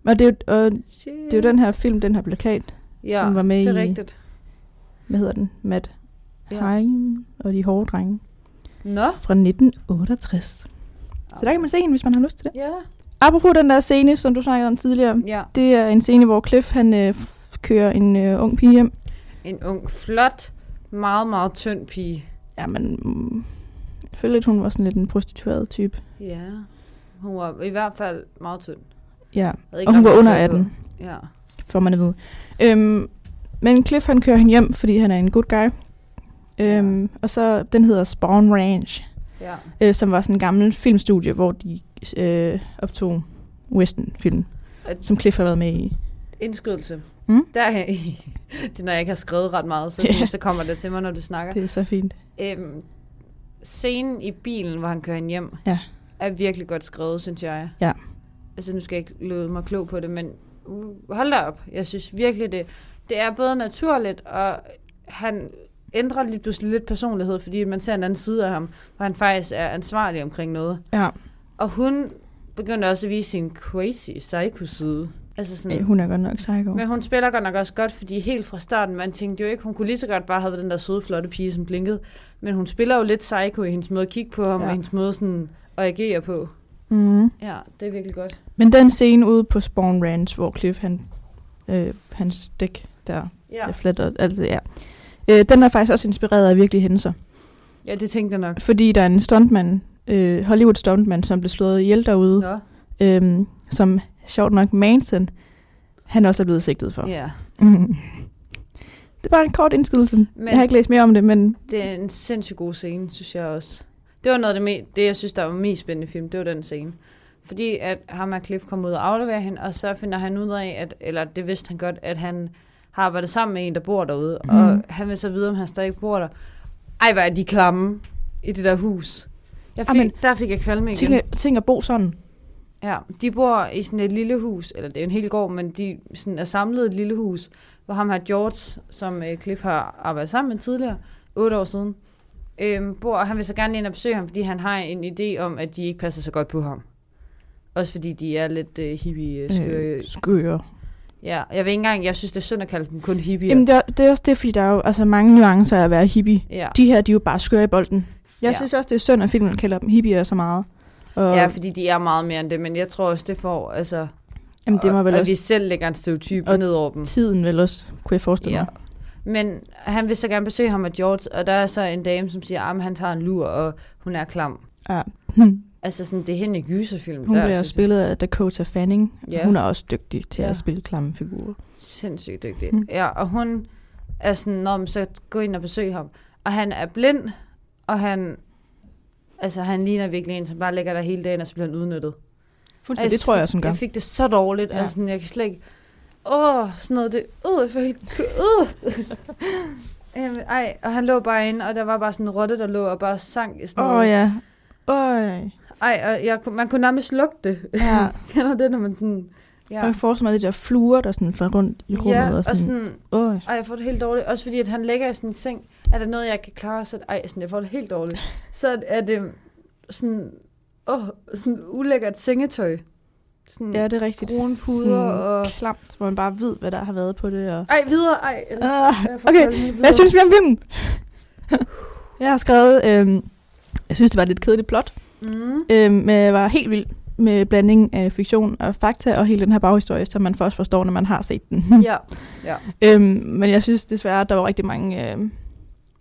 Og det, er jo, og Shit. det er jo den her film, den her plakat, ja, som var med det er i- rigtigt. hvad hedder den? Matt Ja. ja. Heim og de hårde drenge Nå. fra 1968. Så der kan man se hende, hvis man har lyst til det. Ja, Apropos den der scene, som du snakkede om tidligere. ja. Det er en scene, hvor Cliff han, øh, f- kører en øh, ung pige hjem. En ung, flot, meget, meget tynd pige. Jamen, mm, jeg føler lidt, hun var sådan lidt en prostitueret type. Ja. Hun var i hvert fald meget tynd. Ja, Havde ikke og hun ret var meget tøj under på. 18, Ja. får man at vide. Øhm, men Cliff han kører hende hjem, fordi han er en good guy. Øhm, Og så, den hedder Spawn Ranch, Ja. øh, som var sådan en gammel filmstudie, hvor de øh, optog western-film, At- som Cliff har været med i. Indskydelse. Mm. Der, det er, når jeg ikke har skrevet ret meget, så, sådan, så kommer det til mig, når du snakker. Det er så fint. Øhm, scenen i bilen, hvor han kører hende hjem, Ja. er virkelig godt skrevet, synes jeg. Ja. Altså, nu skal jeg ikke løbe mig klog på det, men uh, hold da op. Jeg synes virkelig, det, det er både naturligt, og han ændrer lige pludselig lidt personlighed, fordi man ser en anden side af ham, hvor han faktisk er ansvarlig omkring noget. Ja, Og hun begynder også at vise sin crazy psycho-side. Altså sådan, øh, hun er godt nok psycho. men hun spiller godt nok også godt, fordi helt fra starten, man tænkte jo ikke, hun kunne lige så godt bare have været den der søde, flotte pige, som blinkede. Men hun spiller jo lidt psycho i hendes måde at kigge på ham, ja. Ja. og hendes måde sådan at agere på. Mm. Ja, det er virkelig godt. Men den scene ude på Spawn Ranch, hvor Cliff han, øh, hans dæk der Ja, ja. fletter, altså ja. Øh, den er faktisk også inspireret af virkelige hændelser. ja det tænkte jeg nok. Fordi der er en stuntman, øh, Hollywood stuntman, som blev slået ihjel derude, Nå, øhm, som sjovt nok Manson, han også er blevet sigtet for. ja. Mm. Det var en kort indskydelse. Men... Jeg har ikke læst mere om det, men Det er en sindssygt god scene, synes jeg også. Det var noget af det, me- det jeg synes, der var mest spændende i film, det var den scene. Fordi at ham og Cliff kommer ud og afleverer hende, og så finder han ud af, at, eller det vidste han godt, at han har arbejdet sammen med en, der bor derude, mm. og han vil så vide, om han stadig bor der. Ej, hvor er de klamme i det der hus. Jeg fik, Amen. der fik jeg kvalme igen. tænk, at- tænk at bo sådan. Ja, de bor i sådan et lille hus, eller det er en hel gård, men de sådan er samlet i et lille hus, hvor ham her George, som øh, Cliff har arbejdet sammen med tidligere, otte år siden, øh, bor, og han vil så gerne ind og besøge ham, fordi han har en idé om, at de ikke passer så godt på ham. Også fordi de er lidt øh, hippie øh, skøre. Øh, Øh. skøre. Ja, jeg ved ikke engang, jeg synes, det er synd at kalde dem kun hippie. Jamen, det er, det er også det, fordi der er jo altså, mange nuancer af at være hippie. ja. De her, de er jo bare skøre i bolden. Jeg Ja. ja. synes også, det er synd, at filmen kalder dem hippier så meget. Og, ja, fordi de er meget mere end det, men jeg tror også, det får, altså, jamen, det var vel og, og også vi selv lægger en stereotyp Og ned over dem. tiden, vel også, kunne jeg forestille Ja. mig. Men han vil så gerne besøge ham og George, og der er så en dame, som siger, at han tager en lur, og hun er klam. Ja. Hmm. Altså sådan, det er hende i gyserfilm. Hun der, bliver synes jeg. spillet af Dakota Fanning. Ja. Ja. Hun er også dygtig til ja. Ja. at spille klamme figurer. Sindssygt dygtig. Mm. Ja, og hun er sådan, når man så gå ind og besøge ham. Og han er blind, og han... Altså, han ligner virkelig en, som bare ligger der hele dagen, og så bliver han udnyttet. Fuldstændig. det tror jeg også, hun gør. Jeg fik det så dårligt, ja. Ja. altså, sådan, jeg kan slet ikke... Åh, oh, sådan noget, det... Øh, jeg får helt... Øh. Øhm, Ej, og han lå bare inde, og der var bare sådan en rotte, der lå og bare sang i sådan Åh noget. oh, ja. Øj. Ej, og jeg, kunne- man kunne nærmest lugte det. Ja. Kender du det, når man sådan... Ja. Og jeg forestiller mig de der fluer, der sådan flyver rundt i rummet. ja, og sådan, sådan, Åh, ej, jeg får det helt dårligt. Også fordi, at han ligger i sådan en seng. Er der noget, jeg kan klare? Så, ej, sådan, jeg får det helt dårligt. Så er det sådan, åh, sådan ulækkert sengetøj. Sådan, ja, det er rigtigt. brune puder Sådan og- Klamt, hvor man bare ved, hvad der har været på det. Og... Ej, videre, ej. eller- Ah, jeg får okay, koldt lige videre. Hvad synes vi om filmen? jeg har skrevet, øh, jeg synes, det var et lidt kedeligt plot, Mm. øh, men jeg var helt vild med blandingen af fiktion og fakta og hele den her baghistorie, som man først forstår, når man har set den. Ja, Øhm, men jeg synes desværre, at der var rigtig mange øhm,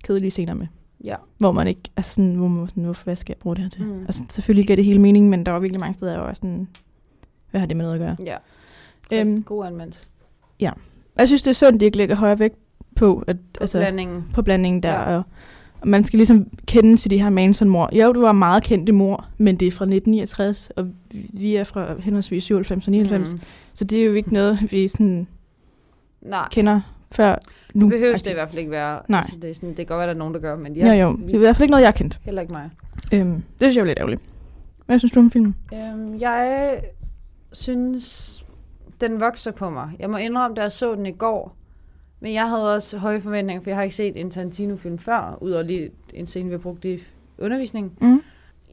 kedelige scener med. Ja. Hvor man ikke, altså sådan, hvor man var sådan, hvorfor, hvad skal jeg bruge det her til? Mm. Mm. Altså selvfølgelig gav det hele mening, men der var virkelig mange steder, hvor jeg var sådan, hvad har det med noget at gøre? ja. Øhm. Øhm. God anmeldelse. Og jeg synes, det er synd, de ikke lægger højere vægt på, at, På altså, blandingen. på blandingen der. Ja. Ja. Og, og man skal ligesom kende til de her Manson-mor. Jo, du var meget kendte mor, men det er fra 1969, og vi- vi er fra henholdsvis 97 og 99. Mm. Mm. Så det er jo ikke noget, vi sådan Nej, kender før nu. det behøves det i Agtigt. hvert fald ikke være. Nej. Altså, det, er sådan, det kan godt være, der er nogen, der gør, men Jo, jo. Det er i hvert fald ikke noget, jeg kendte. heller ikke mig. Øhm, det synes jeg var lidt ærgerligt. Hvad synes du om filmen? Øhm, jeg synes, den vokser på mig. Jeg må indrømme, da jeg så den i går, men jeg havde også høje forventninger, for jeg har ikke set en Tarantino-film før, udover lige en scene, vi har brugt i undervisningen. Mm.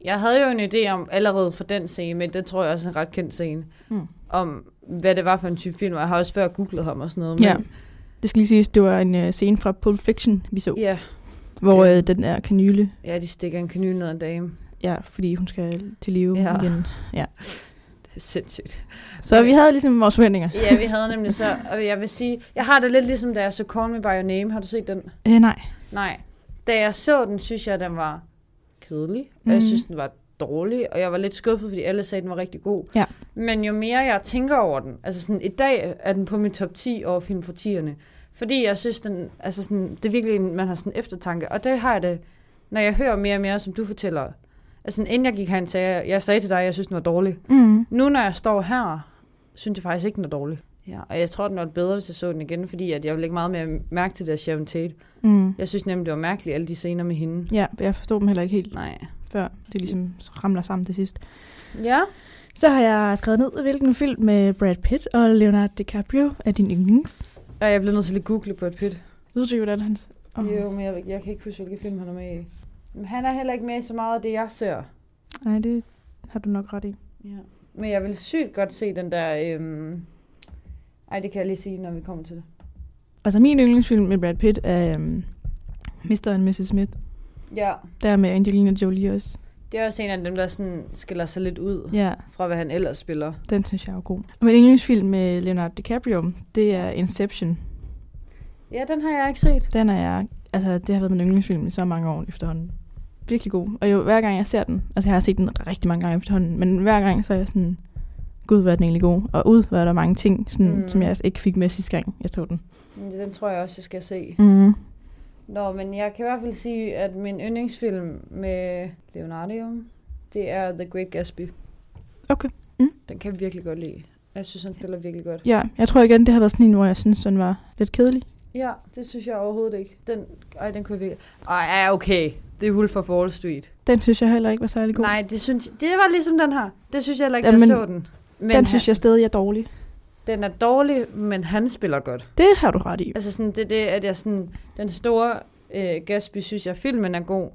Jeg havde jo en idé om, allerede for den scene, men det tror jeg også er en ret kendt scene, Mm. om hvad det var for en type film, og jeg har også før googlet ham og sådan noget. Ja. Det skal lige siges, det var en øh, scene fra Pulp Fiction, vi så, ja, hvor øh, den der kanyle, ja, de stikker en kanyl ned ad en dame. ja, fordi hun skal til live Ja. ja. igen. Det er sindssygt. Så Okay. vi havde ligesom vores forventninger. Ja, vi havde nemlig så, og jeg vil sige, jeg har det lidt ligesom, da jeg så Call Me By Your Name. Har du set den? Øh, nej. Nej. Da jeg så den, synes jeg, den var kedelig, og Mhm. jeg synes, den var dårlig, og jeg var lidt skuffet, fordi alle sagde, den var rigtig god. Ja. Men jo mere jeg tænker over den, altså sådan, i dag er den på min top 10 over film fra 10'erne, fordi jeg synes, den, altså sådan, det er virkelig, en- man har sådan en eftertanke, og det har jeg det, når jeg hører mere og mere, som du fortæller. Altså sådan, inden jeg gik herind, sagde jeg, jeg sagde til dig, at jeg synes, den var dårlig. Mm. Nu når jeg står her, synes jeg faktisk ikke, den er dårlig. Ja, og jeg tror, den var bedre, hvis jeg så den igen, fordi at jeg ville lægge meget mere mærke til det af Sharon Tate. Mm. Jeg synes nemlig, det var mærkeligt, alle de scener med hende. Ja, jeg forstod dem heller ikke helt, Nej. før det ligesom ramler sammen til sidst. Ja. Så har jeg skrevet ned, hvilken film med Brad Pitt og Leonardo DiCaprio er din yndlings. Og jeg blev nødt til at google på et pit. Ved du, hvordan hans... Oh. Jo, men jeg, jeg kan ikke huske, hvilke film han er med i. Men han er heller ikke med i så meget af det, jeg ser. Nej, det har du nok ret i. Ja. Men jeg vil sygt godt se den der... Øhm... Ej, det kan jeg lige sige, når vi kommer til det. Altså, min yndlingsfilm med Brad Pitt er um, Mr. and Mrs. Smith. Ja. Der med Angelina Jolie også. Det er også en af dem, der sådan skiller sig lidt ud Ja, fra, hvad han ellers spiller. den synes jeg er god. Og min yndlingsfilm med Leonardo DiCaprio, det er Inception. Ja, den har jeg ikke set. Den er jeg, altså det har været min yndlingsfilm i så mange år efterhånden. Virkelig god. Og jo, hver gang jeg ser den, altså jeg har set den rigtig mange gange efterhånden, men hver gang så er jeg sådan, gud, hvor er den egentlig god. Og ud var der mange ting, sådan, Mm. mm. som jeg altså ikke fik med sidste gang, jeg så den. Den tror jeg også, jeg skal se. Mm. Nå, men jeg kan i hvert fald sige, at min yndlingsfilm med Leonardo, det er The Great Gatsby. Okay. Mm. Mm. Den kan jeg virkelig godt lide. Jeg synes, han spiller virkelig godt. Ja, jeg tror igen, det har været sådan en, hvor jeg synes, den var lidt kedelig. Ja, det synes jeg overhovedet ikke. Den, ej, den kunne jeg virkelig... Ej, ja, okay. Det er Wolf of Wall Street. Den synes jeg heller ikke var særlig god. God. Nej, det, synes, det var ligesom den her. Det synes jeg heller ikke, Ja, jeg men- så den. Men den synes jeg stadig er dårlig. han, den er dårlig, men han spiller godt. Det har du ret i. Altså sådan, det er det, at jeg sådan, den store øh, Gatsby synes jeg, filmen er god,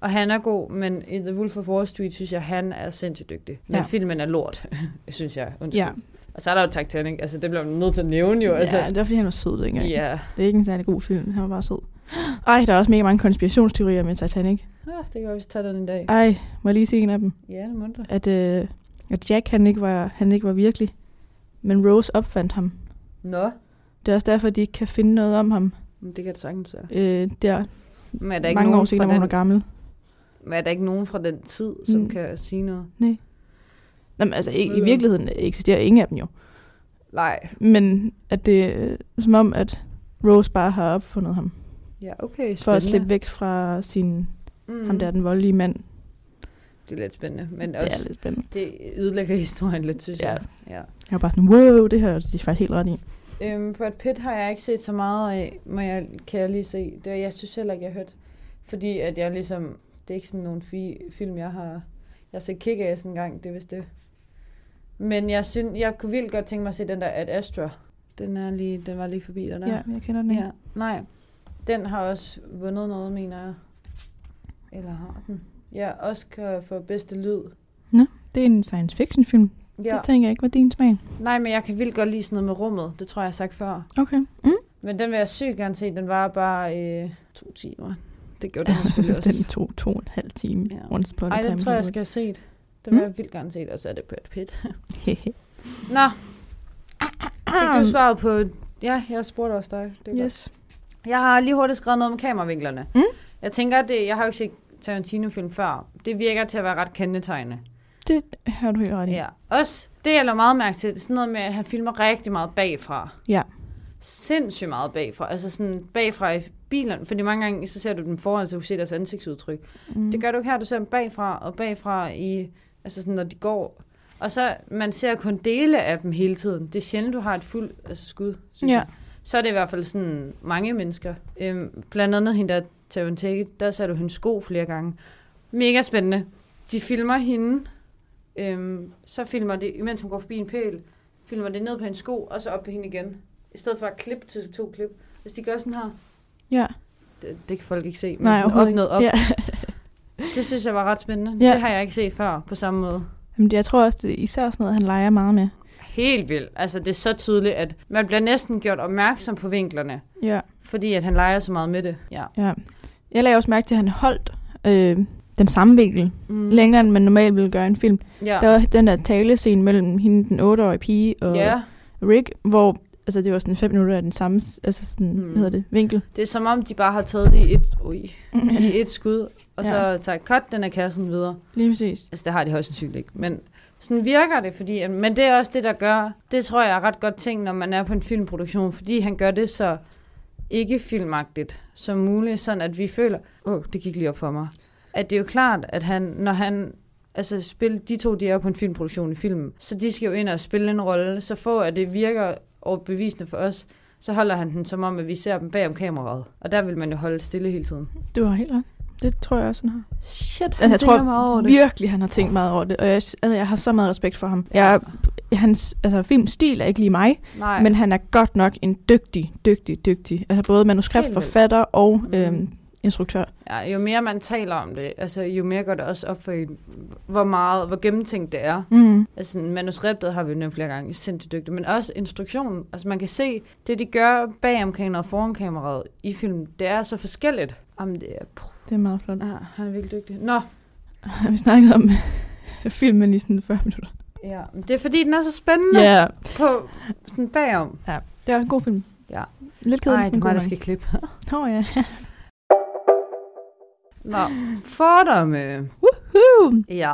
og han er god, men i The Wolf of Wall Street synes jeg, han er sindssygt dygtig. Men ja. Ja. filmen er lort, synes jeg. Undskyld. Ja, Og så er der jo Titanic, altså det bliver man nødt til at nævne Altså, jo. Altså, ja, det var fordi, han var sød dengang. ja. Det er ikke en særlig god film, han var bare sød. Ej, der er også mega mange konspirationsteorier med Titanic. Ah, det kan være, vi skal tage den en dag. Ej, må jeg lige se en af dem? Ja, det må du. At, øh, at Jack, han ikke, var, han ikke var virkelig, men Rose opfandt ham. Nå, Det er også derfor, at de ikke kan finde noget om ham. men det kan det sagtens være. Øh, der, Men er der ikke mange nogen år senere, fra hvor hun den, er gammel. men er der ikke nogen fra den tid, som mm. Mm. kan sige noget? Nå, men altså, i, i Øh. virkeligheden eksisterer ingen af dem jo. Nej. Men at det er som om, at Rose bare har opfundet ham. Ja, okay, spændende. For at slippe væk fra sin, mm. Mm. ham der, den voldelige mand. Det er lidt spændende, men det det også, er lidt spændende. det ødelægger historien lidt, synes Ja. jeg. Ja. Jeg var bare sådan, wow, det her er de faktisk helt ret i. Øhm, Brad Pitt har jeg ikke set så meget af, men jeg, kan jeg lige se. Det, jeg synes heller ikke, jeg har hørt. Fordi at jeg ligesom, det er ikke sådan nogle fi, film, jeg har... Jeg har set kick sådan en gang, det er vist det. Men jeg, synes, jeg kunne vildt godt tænke mig at se den der Ad Astra. Den, er lige, den var lige forbi dig der. Ja, jeg kender den ikke. ja. Nej, den har også vundet noget, mener jeg. Eller har den? Ja, Oscar for bedste lyd. Det er en science fiction film. Ja. Ja. Det tænker jeg ikke var din smag. Nej, men jeg kan vildt godt lide sådan noget med rummet. Det tror jeg, jeg har sagt før. Okay. Mm. Men den vil jeg sygt gerne se. Den var bare øh, to timer. Det gjorde den selvfølgelig også. den tog to og en halv time. Ja. Once upon a Ej, den time tror jeg, jeg Hollywood. skal have set. Det Mm. vil jeg vildt gerne set, og så er det Brad Pitt. Nå, fik Ah, du svaret på... Ja, jeg spurgte også dig. Det er godt. Yes. Jeg har lige hurtigt skrevet noget om kameravinklerne. Mm. Jeg tænker, at det, jeg har jo ikke set Tarantino-film før. Det virker til at være ret kendetegnende. Det har du helt ret i. Ja. Også det, jeg lader meget mærke til, sådan noget med, at han filmer rigtig meget bagfra. Ja. Sindssygt meget bagfra. Altså sådan bagfra i bilen, fordi mange gange, så ser du dem foran, så du kan se deres ansigtsudtryk. Mm. Det gør du ikke her, du ser dem bagfra og bagfra i, altså sådan, når de går. Og så, man ser kun dele af dem hele tiden. Det er sjældent, du har et fuldt altså skud, synes Ja. jeg. Så er det i hvert fald sådan mange mennesker. Øhm, blandt andet hende der, Tarantage, der ser du hendes sko flere gange. Mega spændende. De filmer hende, øhm, så filmer det, imens hun går forbi en pæl, filmer det ned på hendes sko, og så op på hende igen. I stedet for at klippe til to klip. Hvis de gør sådan her, Ja. det, det kan folk ikke se, men Nej, sådan op, overhovedet ned, ikke. op, Ja. det synes jeg var ret spændende. Ja. Ja. Det har jeg ikke set før på samme måde. Jamen, det- jeg tror også, det er især sådan noget, han leger meget med. Helt vildt. Altså, det er så tydeligt, at man bliver næsten gjort opmærksom på vinklerne, Ja. fordi at han leger så meget med det. Ja. ja. Jeg lagde også mærke til, at han holdt øh, den samme vinkel Mm. længere, end man normalt ville gøre i en film. Ja. Der var den der talescene mellem hende, den 8-årige pige, og ja. Rick, hvor altså, det var sådan 5 minutter af den samme altså sådan, mm. Mm. hvad hedder det, vinkel. Det er som om, de bare har taget det i et, ui, i et skud, og Ja. så tager cut den af kassen videre. Lige præcis. Altså, det har de højst sandsynligt ikke, men sådan virker det, fordi, at- men det er også det, der gør, det tror jeg er ret godt ting, når man er på en filmproduktion, fordi han gør det så ikke filmagtigt som muligt, sådan at vi føler, åh, oh, det gik lige op for mig, at det er jo klart, at han, når han, altså spil, de to, de er jo på en filmproduktion i filmen, så de skal jo ind og spille en rolle, så for at det virker overbevisende for os, så holder han den som om, at vi ser dem bag om kameraet, og der vil man jo holde stille hele tiden. Du har helt ret. Det tror jeg også, han har. Shit, Altså, jeg tror meget virkelig, han har tænkt meget over det, og jeg, altså, jeg har så meget respekt for ham. Jeg, hans altså, filmstil er ikke lige mig, Nej. Men han er godt nok en dygtig, dygtig, dygtig. Altså både manuskriptforfatter og Mm. øhm, instruktør. Ja, jo mere man taler om det, altså jo mere går det også op for en, hvor meget, hvor gennemtænkt det er. Mm. Altså manuskriptet har vi jo nævnt flere gange, sindssygt dygtigt, men også instruktionen. Altså man kan se, det de gør bag om kameraet og foran kameraet i film, det er så forskelligt. Jamen det er, puh, Det er meget flot. ja, han er virkelig dygtig. Nå, Vi snakkede om filmen i sådan 40 minutter. ja, men det er fordi, den er så spændende yeah. på sådan bagom. det var en god film. Ja. Lidt kedelig, Nej, det er men god mig, der nok. skal klippe. Nå ja. Nå, fordomme. Woohoo! Ja,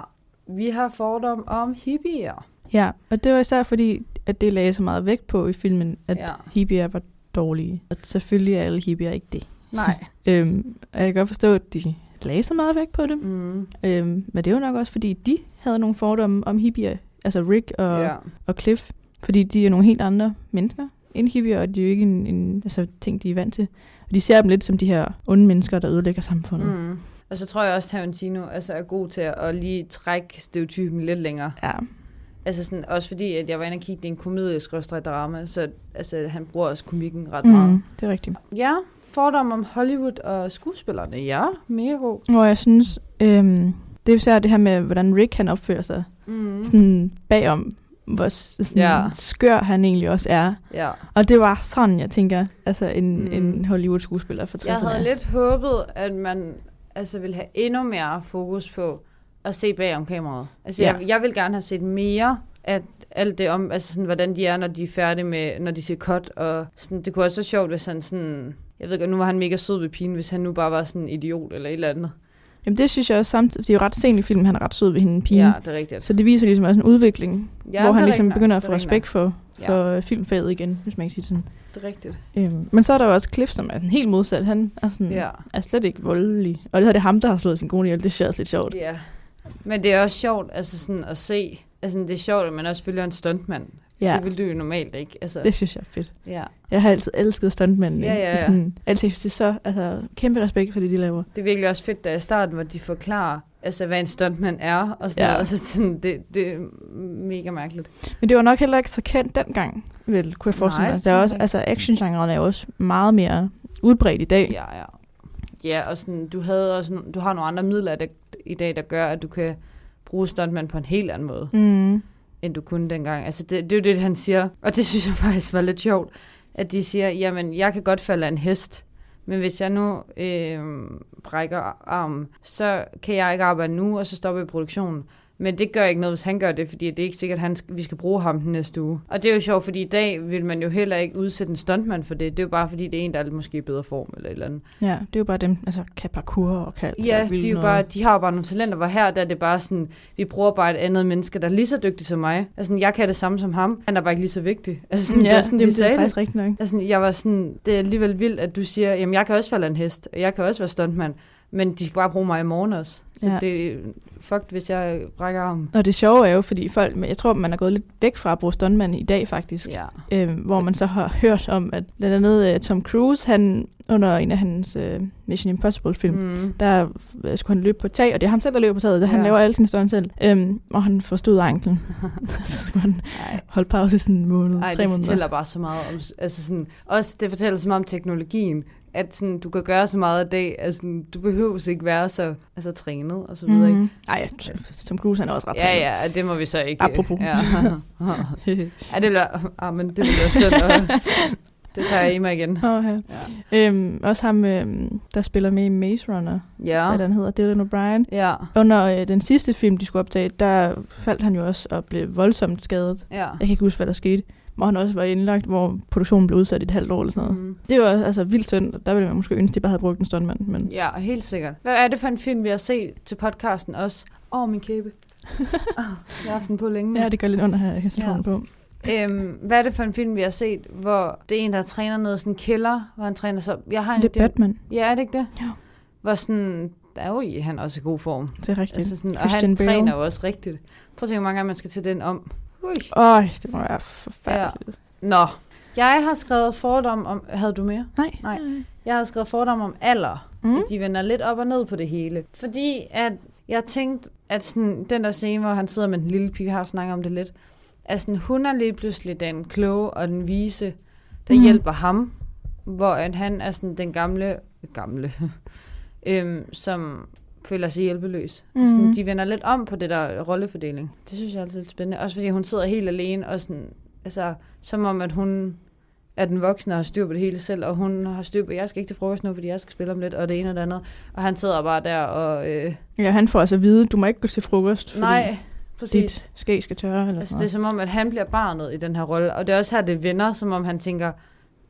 vi har fordom om hippier. Ja, og det var især fordi, at det lagde så meget vægt på i filmen, at ja. Ja. hippier var dårlige. Og selvfølgelig er alle hippier ikke det. Nej. Øhm, og jeg kan godt forstå, at de lagde så meget vægt på det. Mm, Øhm, men det var nok også, fordi de havde nogle fordomme om hippier. Altså Rick og ja. og Cliff, fordi de er nogle helt andre mennesker end hippier, og de er jo ikke en, en altså, ting, de er vant til. Og de ser dem lidt som de her onde mennesker, der ødelægger samfundet. Mm. Mm. Og så tror jeg også, at Tarantino altså, er god til at lige trække stereotypen lidt længere. Ja, Altså sådan, også fordi, at jeg var inde og kigge, det er en komedie skråstreg drama, så altså, han bruger også komikken ret meget. mm, det er rigtigt. Ja, fordom om Hollywood og skuespillerne, ja, mega god. Og jeg synes, øhm, det er især det her med, hvordan Rick han opfører sig Mm. sådan bagom, hvor s- sådan Ja. skør han egentlig også er. Ja. Og det var sådan, jeg tænker, altså en, mm. Mm. en Hollywood-skuespiller for 60'erne. Jeg er. havde lidt håbet, at man altså, ville have endnu mere fokus på at se bag om kameraet. Altså, Ja. ja. jeg, jeg vil gerne have set mere at alt det om, altså sådan, hvordan de er, når de er færdige med, når de siger cut, og sådan, det kunne også være sjovt, hvis han sådan, jeg ved godt, nu var han mega sød ved pigen, hvis han nu bare var sådan en idiot eller et eller andet. Jamen det synes jeg også samtidig, det er jo ret sent i filmen, han er ret sød ved hende, pigen. Ja, Ja. det er rigtigt. Så det viser ligesom også en udvikling Ja, ja, det hvor er han ligesom rigtigt nok, begynder at det få er rigtigt respekt for, nok. for ja. filmfaget igen, hvis man kan sige det sådan. nok. Det er rigtigt. Øhm, men så er der jo også Cliff, som er sådan helt modsat. Han er, sådan, ja. Ja. er slet ikke voldelig. Og det er det ham, der har slået sin kone ihjel. Det synes jeg også lidt sjovt. ja. Men det er også sjovt altså sådan, at se, altså det er sjovt, at man også følger en stuntmand. Ja. Ja, Det ville du jo normalt ikke. Altså, det synes jeg er fedt. ja. Jeg har altid elsket stuntmændene. Ja, ikke? ja, Det er ja. Sådan, altid, det er så, altså, kæmpe respekt for det, de laver. Det er virkelig også fedt, da i starten, hvor de forklarer, altså, hvad en stuntman er, og sådan Ja. ja. noget, og så sådan, det, det er mega mærkeligt. Men det var nok heller ikke så kendt dengang, vel, kunne jeg forestille Nej, mig. det Der er synes også, jeg altså, actiongenren er jo også meget mere udbredt i dag. Ja, ja. Ja, og sådan, du, havde også, no- du har nogle andre midler der, i dag, der gør, at du kan bruge stuntman på en helt anden måde, Mm. end du kunne dengang. Altså, det, det er jo det, han siger, og det synes jeg faktisk var lidt sjovt, at de siger, jamen, jeg kan godt falde af en hest, men hvis jeg nu øh, brækker armen, så kan jeg ikke arbejde nu, og så stopper jeg produktionen. Men det gør ikke noget, hvis han gør det, fordi det er ikke sikkert, at han sk- vi skal bruge ham den næste uge. Og det er jo sjovt, fordi i dag vil man jo heller ikke udsætte en stuntmand for det. Det er jo bare, fordi det er en, der er måske i bedre form eller et eller andet. Ja, det er jo bare dem, altså, kan parkour og kan alt det Ja, der vilde de, er jo noget. bare, de har jo bare nogle talenter, hvor her der er det bare sådan, vi bruger bare et andet menneske, der er lige så dygtig som mig. Altså, jeg kan det samme som ham, han er bare ikke lige så vigtig. Altså, sådan, det Mm, ja, var sådan, det, de det er sagde det. faktisk rigtigt nok. Altså, jeg var sådan, det er alligevel vildt, at du siger, jamen jeg kan også falde af en hest, og jeg kan også være stuntmand, men de skal bare bruge mig i morgen også. Så Ja. ja. det er fucked, hvis jeg brækker armen. Og det sjove er jo, fordi folk, men jeg tror, man er gået lidt væk fra at bruge stuntmand i dag faktisk, Ja. øh, hvor man så har hørt om, at blandt andet øh, Tom Cruise, han under en af hans øh, Mission Impossible-film, mm. Mm. der øh, skulle han løbe på et tag, og det er ham selv, der løber på taget, ja. han Ja. laver alle sine stunts selv, øhm, og han forstod anklen. så skulle han Ej. holde pause i sådan en måned, Ej, tre det måneder. fortæller bare så meget om, altså sådan, også det fortæller så meget om teknologien, at sådan, du kan gøre så meget af det, altså, sådan, du behøves ikke være så altså, trænet og så videre, ikke? Mm. Ej, t- Tom Cruise, han er også ret Ja, ja, og det må vi så ikke. Apropos. Ja, ja det bliver, ah, men det bliver synd. Og, det tager jeg i mig igen. Oh, ja. Ja. Øhm, også ham, øhm, der spiller med i Maze Runner, ja. hvad Ja. den hedder, Dylan O'Brien. Ja. Under øh, den sidste film, de skulle optage, der faldt han jo også og blev voldsomt skadet. Ja. Jeg kan ikke huske, hvad der skete. Hvor han også var indlagt, hvor produktionen blev udsat i et halvt år eller sådan noget. Mm. Mm. Det var altså vildt synd. og Der ville man måske ønske, at de bare havde brugt en stuntmand. Men Ja, helt sikkert. Hvad er det for en film, vi har set til podcasten også? Åh, oh, min kæbe. Oh, jeg har haft den på længe. nu. ja, det gør lidt under her, jeg kan ja. Ja. på. Øhm, hvad er det for en film, vi har set, hvor det er en, der træner noget sådan en kælder, hvor han træner så... Jeg har en Det er Batman. Ja, er det ikke det? Jo. Hvor sådan... Der er jo i, han er også i god form. Det er rigtigt. Altså sådan, og Christian han Bale. træner jo også rigtigt. Prøv at se, hvor mange gange man skal til den om. Ui. Øj, det må være forfærdeligt. Nå. Jeg har skrevet fordom om... Havde du mere? Nej. Nej. Jeg har skrevet fordom om alder. Mm? De vender lidt op og ned på det hele. Fordi at jeg tænkte, at sådan, den der scene, hvor han sidder med den lille pige, vi har snakket om det lidt, at sådan, hun er lige pludselig den kloge og den vise, der Mm. mm. hjælper ham. Hvor at han er sådan den gamle... Gamle. øhm, som føler sig hjælpeløs. Mm. Mhm. Sådan, de vender lidt om på det der rollefordeling. Det synes jeg altid er lidt spændende. Også fordi hun sidder helt alene, og sådan, altså, som om at hun er den voksne og har styr på det hele selv, og hun har styr på, jeg skal ikke til frokost nu, fordi jeg skal spille om lidt, og det ene og det andet. Og han sidder bare der og... Øh, Ja, han får altså at vide, du må ikke gå til frokost, fordi nej, præcis. dit ske skal tørre. Eller Altså, sådan det er noget. som om, at han bliver barnet i den her rolle, og det er også her, det vender, som om han tænker,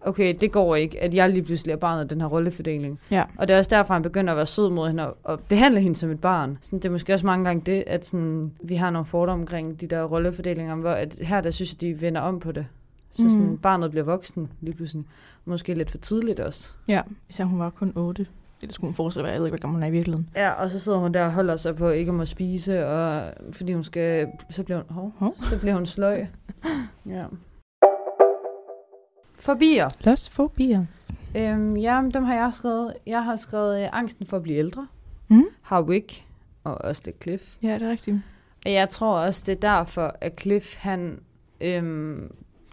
okay, det går ikke, at jeg lige pludselig er barnet i den her rollefordeling. Ja. Og det er også derfor, han begynder at være sød mod hende og, og behandle hende som et barn. Sådan, det er måske også mange gange det, at sådan, vi har nogle fordomme omkring de der rollefordelinger, hvor at her, der synes jeg, de vender om på det. Så sådan, Mm. mm. barnet bliver voksen lige pludselig. Måske lidt for tidligt også. Ja, især hun var kun 8. Det skulle hun forestille være. Jeg ved ikke, hvor gammel hun er i virkeligheden. Ja, og så sidder hun der og holder sig på ikke at må spise, og fordi hun skal, så bliver hun, hov, Hov. så bliver hun sløj. Ja. Forbier. Los fobias. Øhm, ja, men dem har jeg skrevet. Jeg har skrevet øh, angsten for at blive ældre. Mm? Harwick og også lidt Cliff. Ja, det er rigtigt. Og jeg tror også, det er derfor, at Cliff, han øhm,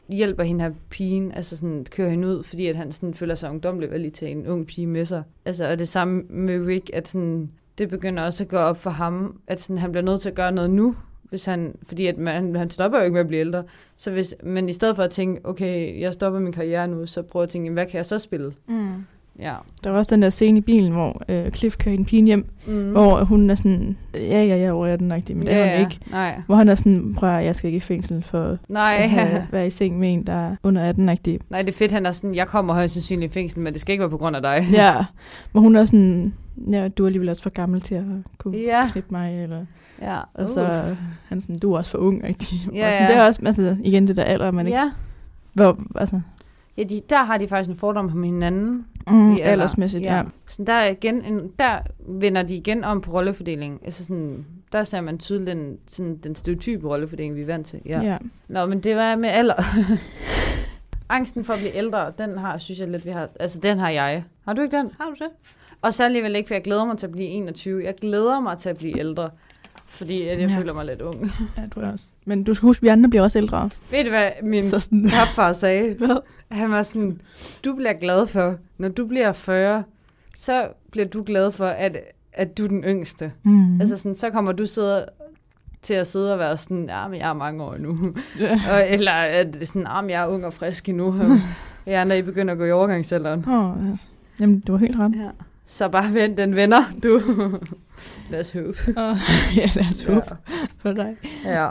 hjælper hende her pigen, altså sådan kører hende ud, fordi at han sådan føler sig ungdomlig ved lige tage en ung pige med sig. Altså, og det samme med Rick, at sådan, det begynder også at gå op for ham, at sådan, han bliver nødt til at gøre noget nu, hvis han, fordi at man, han stopper jo ikke med at blive ældre. Så hvis, men i stedet for at tænke, okay, jeg stopper min karriere nu, så prøver jeg at tænke, hvad kan jeg så spille? Mm. Ja. Der var også den der scene i bilen, hvor øh, Cliff kører en pige hjem, mm. Mm. hvor hun er sådan, ja, ja, ja, over er den nok, men det er hun ikke. Nej. Hvor han er sådan, prøv at høre, jeg skal ikke i fængsel for Nej. at have, være i seng med en, der er under 18 agtig Nej, det er fedt, han er sådan, jeg kommer højst sandsynligt i fængsel, men det skal ikke være på grund af dig. Ja, hvor hun er sådan, ja, du er alligevel også for gammel til at kunne Ja. yeah. klippe mig, eller, Ja. Uh. og så Uh. er han sådan, du er også for ung, rigtig. Ja, og sådan, ja. Det er også, altså, igen det der alder, man ikke, Ja, hvor, altså, ja de, der har de faktisk en fordom om hinanden. mm, i alder. aldersmæssigt, ja. Så der, er igen en, der vender de igen om på rollefordelingen. Altså sådan, der ser man tydeligt den, sådan, den stereotype rollefordeling, vi er vant til. Ja. Ja. ja. ja. Nå, men det var med alder. Angsten for at blive ældre, den har, synes jeg lidt, vi har... Altså, den har jeg. Har du ikke den? Har du det? Og så alligevel ikke, for jeg glæder mig til at blive 21. Jeg glæder mig til at blive ældre, fordi at jeg Ja. ja. føler mig lidt ung. Ja, du er også. Men du skal huske, at vi andre bliver også ældre. Ved du, hvad min Så sådan, papfar sagde? hvad? Han var sådan, du bliver glad for, når du bliver 40, så bliver du glad for, at, at du er den yngste. Mm. Mm. Altså sådan, så kommer du sidde, til at sidde og være sådan, ja, men jeg er mange år nu. Ja. og, eller at det er sådan, ja, men jeg er ung og frisk endnu. Og jeg andre, I begynder at gå i overgangsalderen. Åh, ja. Jamen, du har helt ret. Ja. Så bare vent, den vender, du. Lad os håbe. Åh, ja, lad os håbe for dig. Ja. ja.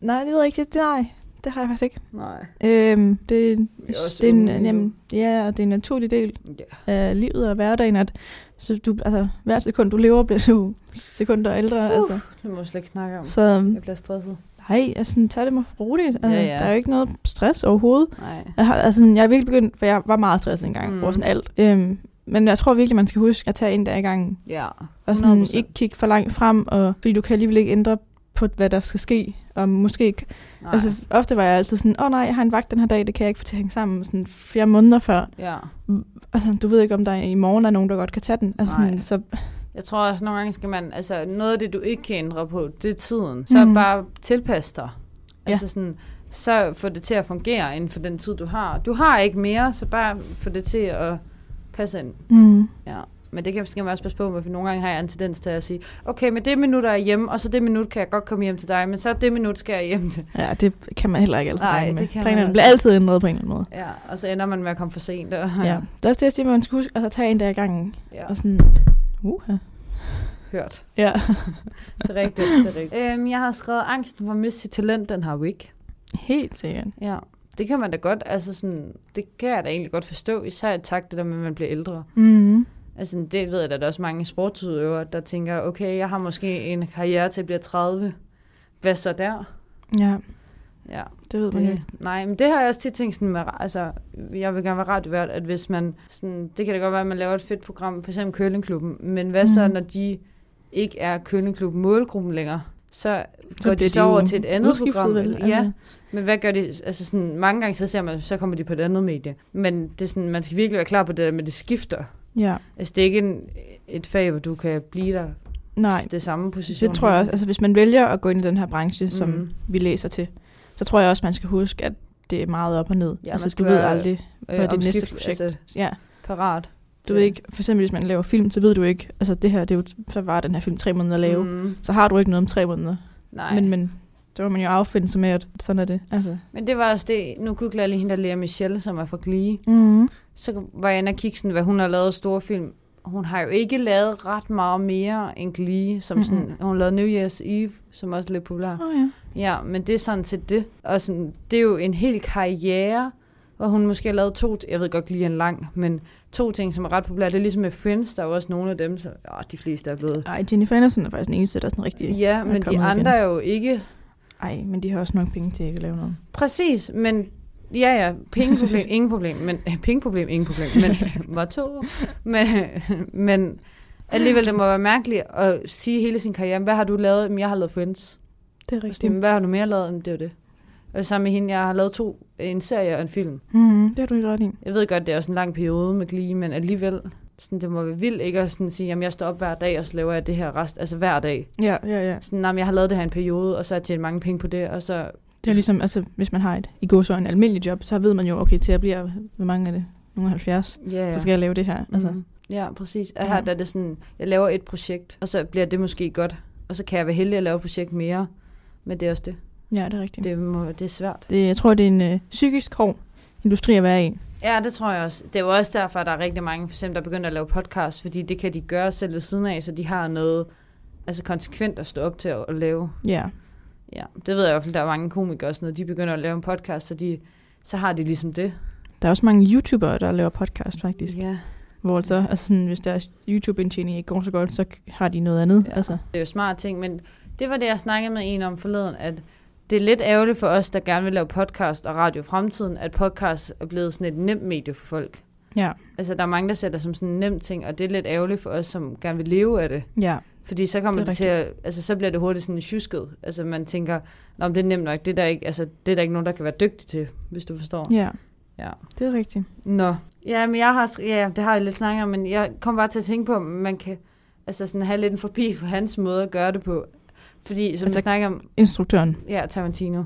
Nej, det ved jeg ikke. Det, nej, det har jeg faktisk ikke. Nej. Øhm, det, Vi er også det, er en, unge nu. jamen, ja, og det er en naturlig del Ja. af livet og hverdagen, at så du, altså, hver sekund, du lever, bliver du sekunder ældre. Uh. Altså. Det må jeg slet ikke snakke om. Så Jeg bliver stresset. nej, altså, tag det med roligt. Altså, Ja, ja. Der er jo ikke noget stress overhovedet. Nej. Jeg, har, altså, jeg er virkelig begyndt, for jeg var meget stresset engang mm. Mm. over sådan alt. Øhm, men jeg tror virkelig, man skal huske at tage en dag i gangen. Ja. Og sådan 100%. ikke kigge for langt frem, og, fordi du kan alligevel ikke ændre på, hvad der skal ske. Og måske ikke Nej. Altså, ofte var jeg altid sådan, åh oh, nej, jeg har en vagt den her dag, det kan jeg ikke få til at hænge sammen sådan flere måneder før. ja. Altså, du ved ikke, om der i morgen er nogen, der godt kan tage den. Altså, Nej. sådan, så, Jeg tror også, nogle gange skal man, altså noget af det, du ikke kan ændre på, det er tiden. Så Mm. mm. bare tilpas dig. Altså sådan, så få det til at fungere inden for den tid, du har. Du har ikke mere, så bare få det til at passe ind. mm, Ja. Men det kan skal man også passe på med, for nogle gange har jeg en tendens til at sige, okay, men det minut er jeg hjemme, og så det minut kan jeg godt komme hjem til dig, men så det minut skal jeg hjem til. ja, det kan man heller ikke altid Nej, regne det med. kan man altså Planerne også. bliver altid ændret på en eller anden måde. Ja, og så ender man med at komme for sent. Og, Ja. ja. Det er også det, jeg siger, man skal huske at altså, tage en dag i gangen. ja. Ja. Og sådan, uha. Hørt. Ja. Det er rigtigt, det er rigtigt. Øhm, jeg har skrevet, angsten for at miste sit talent, den har vi ikke. Helt sikkert. Ja, det kan man da godt, altså sådan, det kan jeg da egentlig godt forstå, især i takt det der med, at man bliver ældre. Mm. Altså det ved jeg da, at der er også mange sportsudøvere, der tænker, okay, jeg har måske en karriere til at blive 30. Hvad så der? Ja, Ja, det ved man det, ikke. nej, men det har jeg også tit tænkt sådan med, ra- altså, jeg vil gerne være radiovært, at hvis man, sådan, det kan da godt være, at man laver et fedt program, for eksempel Køllingklubben, men hvad så, Mhm. når de ikke er Køllingklubben målgruppen længere? Så Så går de bliver så jo over til et andet udskiftet, program. vel? eller- Ja, Men hvad gør de? Altså sådan, mange gange så ser man, så kommer de på et andet medie. Men det er sådan, man skal virkelig være klar på det der med, at det skifter. Ja. Altså det er ikke en, et fag, hvor du kan blive der Altså, Nej, det samme position. Det tror jeg også. Altså, hvis man vælger at gå ind i den her branche, som Mhm. vi læser til, så tror jeg også, man skal huske, at det er meget op og ned. Ja, man altså, skal du ved være, øh, aldrig, hvad det næste projekt Altså, Ja, parat. du ved ikke, for eksempel hvis man laver film, så ved du ikke, altså det her, det er jo, så var den her film tre måneder at lave. Mm. Mm, Så har du ikke noget om tre måneder. nej. Men, men så må man jo affinde sig med, at sådan er det. Altså. Men det var også det, nu googler jeg lige hende, der lærer Michelle, som er fra Glee. Mm. Så var jeg inde og kigge sådan, hvad hun har lavet af store film. Hun har jo ikke lavet ret meget mere end Glee, som sådan, Mhm. hun lavede New Year's Eve, som også er lidt populær. Oh, ja. Ja, men det er sådan set det. Og sådan, det er jo en hel karriere, hvor hun måske har lavet to, jeg ved godt lige en lang, men to ting, som er ret populære. Det er ligesom med Friends, der er jo også nogle af dem, så åh, de fleste er blevet... Ej, Jennifer Aniston er faktisk den eneste, der er sådan rigtig... Ja, men de kommet igen. andre er jo ikke... Ej, men de har også nok penge til ikke at lave noget. Præcis, men ja, ja, pengeproblem, ingen problem, men pengeproblem, ingen problem, men var to, men, men alligevel, det må være mærkeligt at sige hele sin karriere, hvad har du lavet? Jamen, jeg har lavet Friends. Det er Sådan, rigtigt. hvad har du mere lavet? Jamen, det er jo det. Og sammen med hende, jeg har lavet to, en serie og en film. Mm, det har du helt ret i. Jeg ved godt, det er også en lang periode med Glee, men alligevel, sådan, det må være vildt ikke at sådan sige, jamen jeg står op hver dag, og så laver jeg det her rest, altså hver dag. Ja, ja, ja. Sådan, jamen, jeg har lavet det her en periode, og så har jeg tjent mange penge på det, og så, Det er ligesom, altså, hvis man har et, i går så en almindelig job, så ved man jo, okay, til jeg bliver, hvor mange er det? Nogle 70? ja, ja. Ja. Så skal jeg lave det her. Altså, Mhm. Ja, præcis. Og Ja. her der er det sådan, jeg laver et projekt, og så bliver det måske godt, og så kan jeg være heldig at lave et projekt mere, men det er også det. ja, det er rigtigt. Det. Det, må, det er svært. Det, jeg tror, det er en øh, psykisk hård industri at være i. Ja, det tror jeg også. Det er jo også derfor, at der er rigtig mange, for eksempel, der begynder at lave podcast, fordi det kan de gøre selv ved siden af, så de har noget altså konsekvent at stå op til at, at lave. Ja. Ja, det ved jeg i hvert fald, der er mange komikere og sådan noget. De begynder at lave en podcast, så, de, så har de ligesom det. Der er også mange YouTubere, der laver podcast faktisk. Ja. Ja. Hvor så, altså sådan, hvis deres YouTube-indtjening ikke går så godt, så k- har de noget andet. Ja. Ja. Altså. Det er jo smart ting, men det var det, jeg snakkede med en om forleden, at det er lidt ærgerligt for os, der gerne vil lave podcast og radio i fremtiden, at podcast er blevet sådan et nemt medie for folk. Ja. Altså, der er mange, der ser det som sådan en nem ting, og det er lidt ærgerligt for os, som gerne vil leve af det. Ja. Fordi så kommer Det det, er det til at, altså så bliver det hurtigt sådan tjusket. Altså man tænker, Nå, men det er nemt nok, det er, der ikke, altså, det er der ikke nogen, der kan være dygtig til, hvis du forstår. Ja. Ja. Det er rigtigt. Nå. Ja, men jeg har, sk- ja, det har jeg lidt snakket om, men jeg kom bare til at tænke på, om man kan altså sådan have lidt en forbi for hans måde at gøre det på. Fordi, som altså, Altså- vi snakker om, Instruktøren. ja, Tarantino.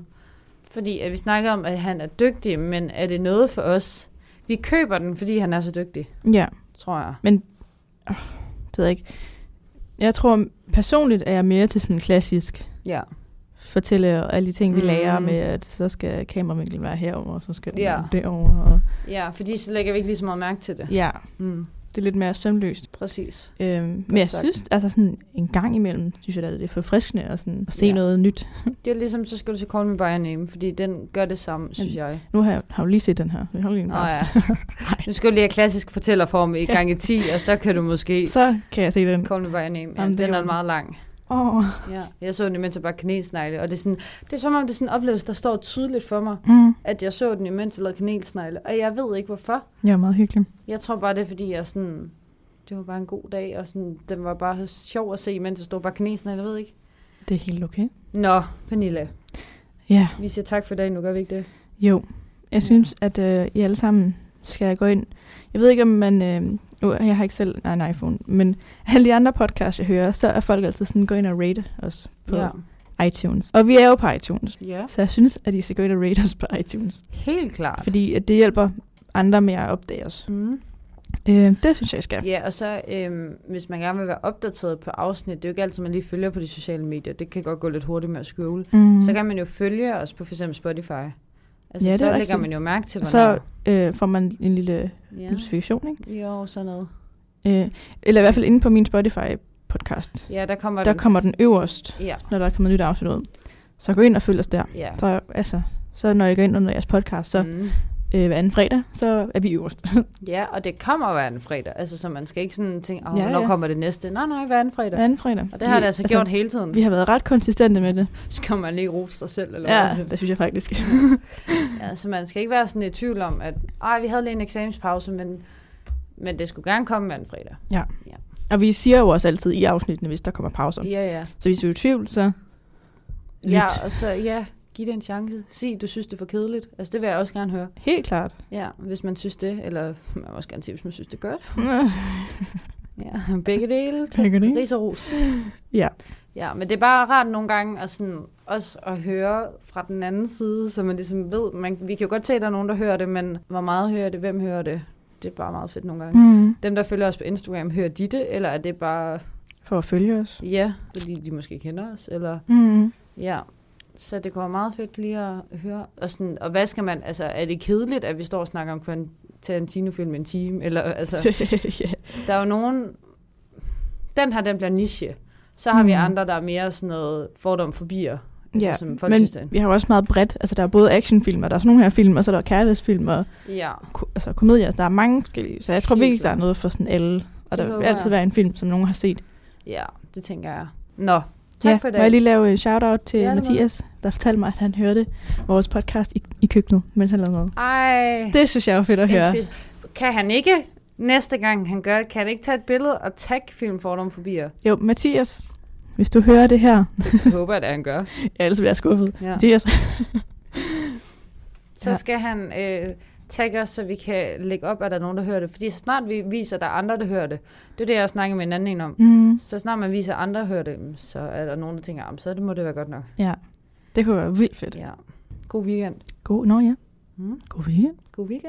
Fordi at vi snakker om, at han er dygtig, men er det noget for os? Vi køber den, fordi han er så dygtig, Ja. tror jeg. Det ved jeg ikke. Jeg tror, personligt er jeg mere til sådan klassisk Ja. fortælle og alle de ting, vi Mm. mm. lærer med, at så skal kameravinklen være herover, og så skal den Ja. være derovre. Og... Ja, fordi så lægger vi ikke lige så meget mærke til det. Ja, Mm, det er lidt mere sømløst. præcis. Øhm, men jeg sagt. synes, altså sådan en gang imellem, synes jeg, da, det er forfriskende at, sådan, at se Ja. ja. noget nyt. Det er ligesom, så skal du til Call Me By Your Name, fordi den gør det samme, synes jeg. Nu har jeg, har jeg jo lige set den her. Jeg holder lige en Nå pause. ja. Nu skal du lige have klassisk fortællerform i gange 10, og så kan du måske Så kan jeg se den. Call Me By Your Name. Ja, Jamen, det er den er jo- meget lang. Åh, oh. Ja. Jeg så den imens jeg bare kanelsnegle, og det er, sådan, det er som om, det er sådan en oplevelse, der står tydeligt for mig, mm. at jeg så den imens jeg lavede kanelsnegle, og jeg ved ikke hvorfor. jeg er meget hyggelig. Jeg tror bare, det er fordi, jeg sådan, det var bare en god dag, og sådan, den var bare sjov at se, mens jeg stod bare kanelsnegle, jeg ved ikke. Det er helt okay. Nå, Pernille, Ja, vi siger tak for i dag, nu gør vi ikke det. jo. Jeg synes, at øh, I alle sammen skal gå ind. Jeg ved ikke, om man... Øh, nu- jeg har ikke selv nej, en iPhone, men alle de andre podcasts, jeg hører, så er folk altid sådan, gå ind og rate os på Ja. ja. iTunes. Og vi er jo på iTunes. ja. Så jeg synes, at I skal gå ind og rate os på iTunes. Helt klart. Fordi at det hjælper andre med at opdage os. Mm. Øh, det synes jeg, I skal. Ja, og så øhm, hvis man gerne vil være opdateret på afsnit, det er jo ikke altid, man lige følger på de sociale medier. Det kan godt gå lidt hurtigt med at scrolle. Mm. Mm. Så kan man jo følge os på f.eks. Spotify. Altså, Ja, ja, det er så lægger rigtigt. man jo mærke til, Og hvornår. så øh, får man en lille ja. notifikation, ikke? Jo, sådan noget. Øh, eller i hvert fald inde på min Spotify-podcast. Ja, der kommer Der den. kommer den øverst, Ja, når der er kommet nyt afsnit ud. Så gå ind og følg os der. ja. Så, altså, så når I går ind under jeres podcast, så mm. Mm. øh, hver anden fredag, så er vi øverst. Ja, og det kommer hver anden fredag. Altså, så man skal ikke sådan tænke, åh, Ja, ja, hvornår ja. ja. kommer det næste? Nej, nej, hver anden fredag. Hver anden fredag. Og det har Vi- det altså gjort hele tiden. Vi har været ret konsistente med det. Skal man lige rose sig selv? Eller Ja, hvad? det synes jeg faktisk. Ja, så man skal ikke være sådan i tvivl om, at Ej, vi havde lige en eksamenspause, men, men det skulle gerne komme hver anden fredag. Og vi siger jo også altid i afsnittene, hvis der kommer pauser. Ja, ja. Så hvis du er i tvivl, så lyt. Ja, og så ja, giv det en chance. Sig, du synes, det er for kedeligt. Altså, det vil jeg også gerne høre. Helt klart. Ja, hvis man synes det, eller man må også gerne sige, hvis man synes, det er godt. Ja, begge dele. Tænker det, ikke? Ris og ros. Mm. Ja. Ja, men det er bare rart nogle gange at sådan, også at høre fra den anden side, så man ligesom ved, man, vi kan jo godt se, at der er nogen, der hører det, men hvor meget hører det, hvem hører det? Det er bare meget fedt nogle gange. Mm. Dem, der følger os på Instagram, hører de det, eller er det bare, For at følge os. ja, fordi de måske kender os, eller Mm. Ja, så det kunne være meget fedt lige at høre. Og, sådan, og hvad skal man, altså er det kedeligt, at vi står og snakker om Tarantino-film en time? Eller, altså, ja. der er jo nogen, den her, den bliver niche. Så har mm. vi Mm. andre, der er mere sådan noget fordom forbier, altså, Ja, som folk men synes, det er en- vi har jo også meget bredt. Altså, der er både actionfilm, og der er sådan nogle her film, og så er der kærlighedsfilm og Ja, ko- altså, komedier. Der er mange forskellige, så jeg tror Helt virkelig, der er klart. noget for sådan alle. Og Det der vil håber altid jeg. være en film, som nogen har set. ja, det tænker jeg. Nå, tak ja, ja, for i Må jeg dag. lige lave en shout-out til Ja, det ja, må Mathias, der fortalte mig, at han hørte vores podcast i, i køkkenet, mens han lavede mad. Ej, Det synes jeg er fedt at høre. indspil- kan han ikke, næste gang han gør det, kan han ikke tage et billede og tagge film fordom forbier? Jo, Mathias, hvis du hører det her, Det håber jeg, at han gør. ja, ellers bliver jeg skuffet. Ja. Mathias, Så Ja. ja. skal han øh, tagge os, så vi kan lægge op, at der er nogen, der hører det. Fordi så snart vi viser, at der er andre, der hører det, det er det, jeg også snakkede med en anden en om. mm, Så snart man viser, at andre hører det, mm, så er der nogen, der tænker, "Ah, men så det må det være godt nok. ja, det kunne være vildt fedt. Ja. God weekend. God, nå ja, Mm. god weekend. God weekend.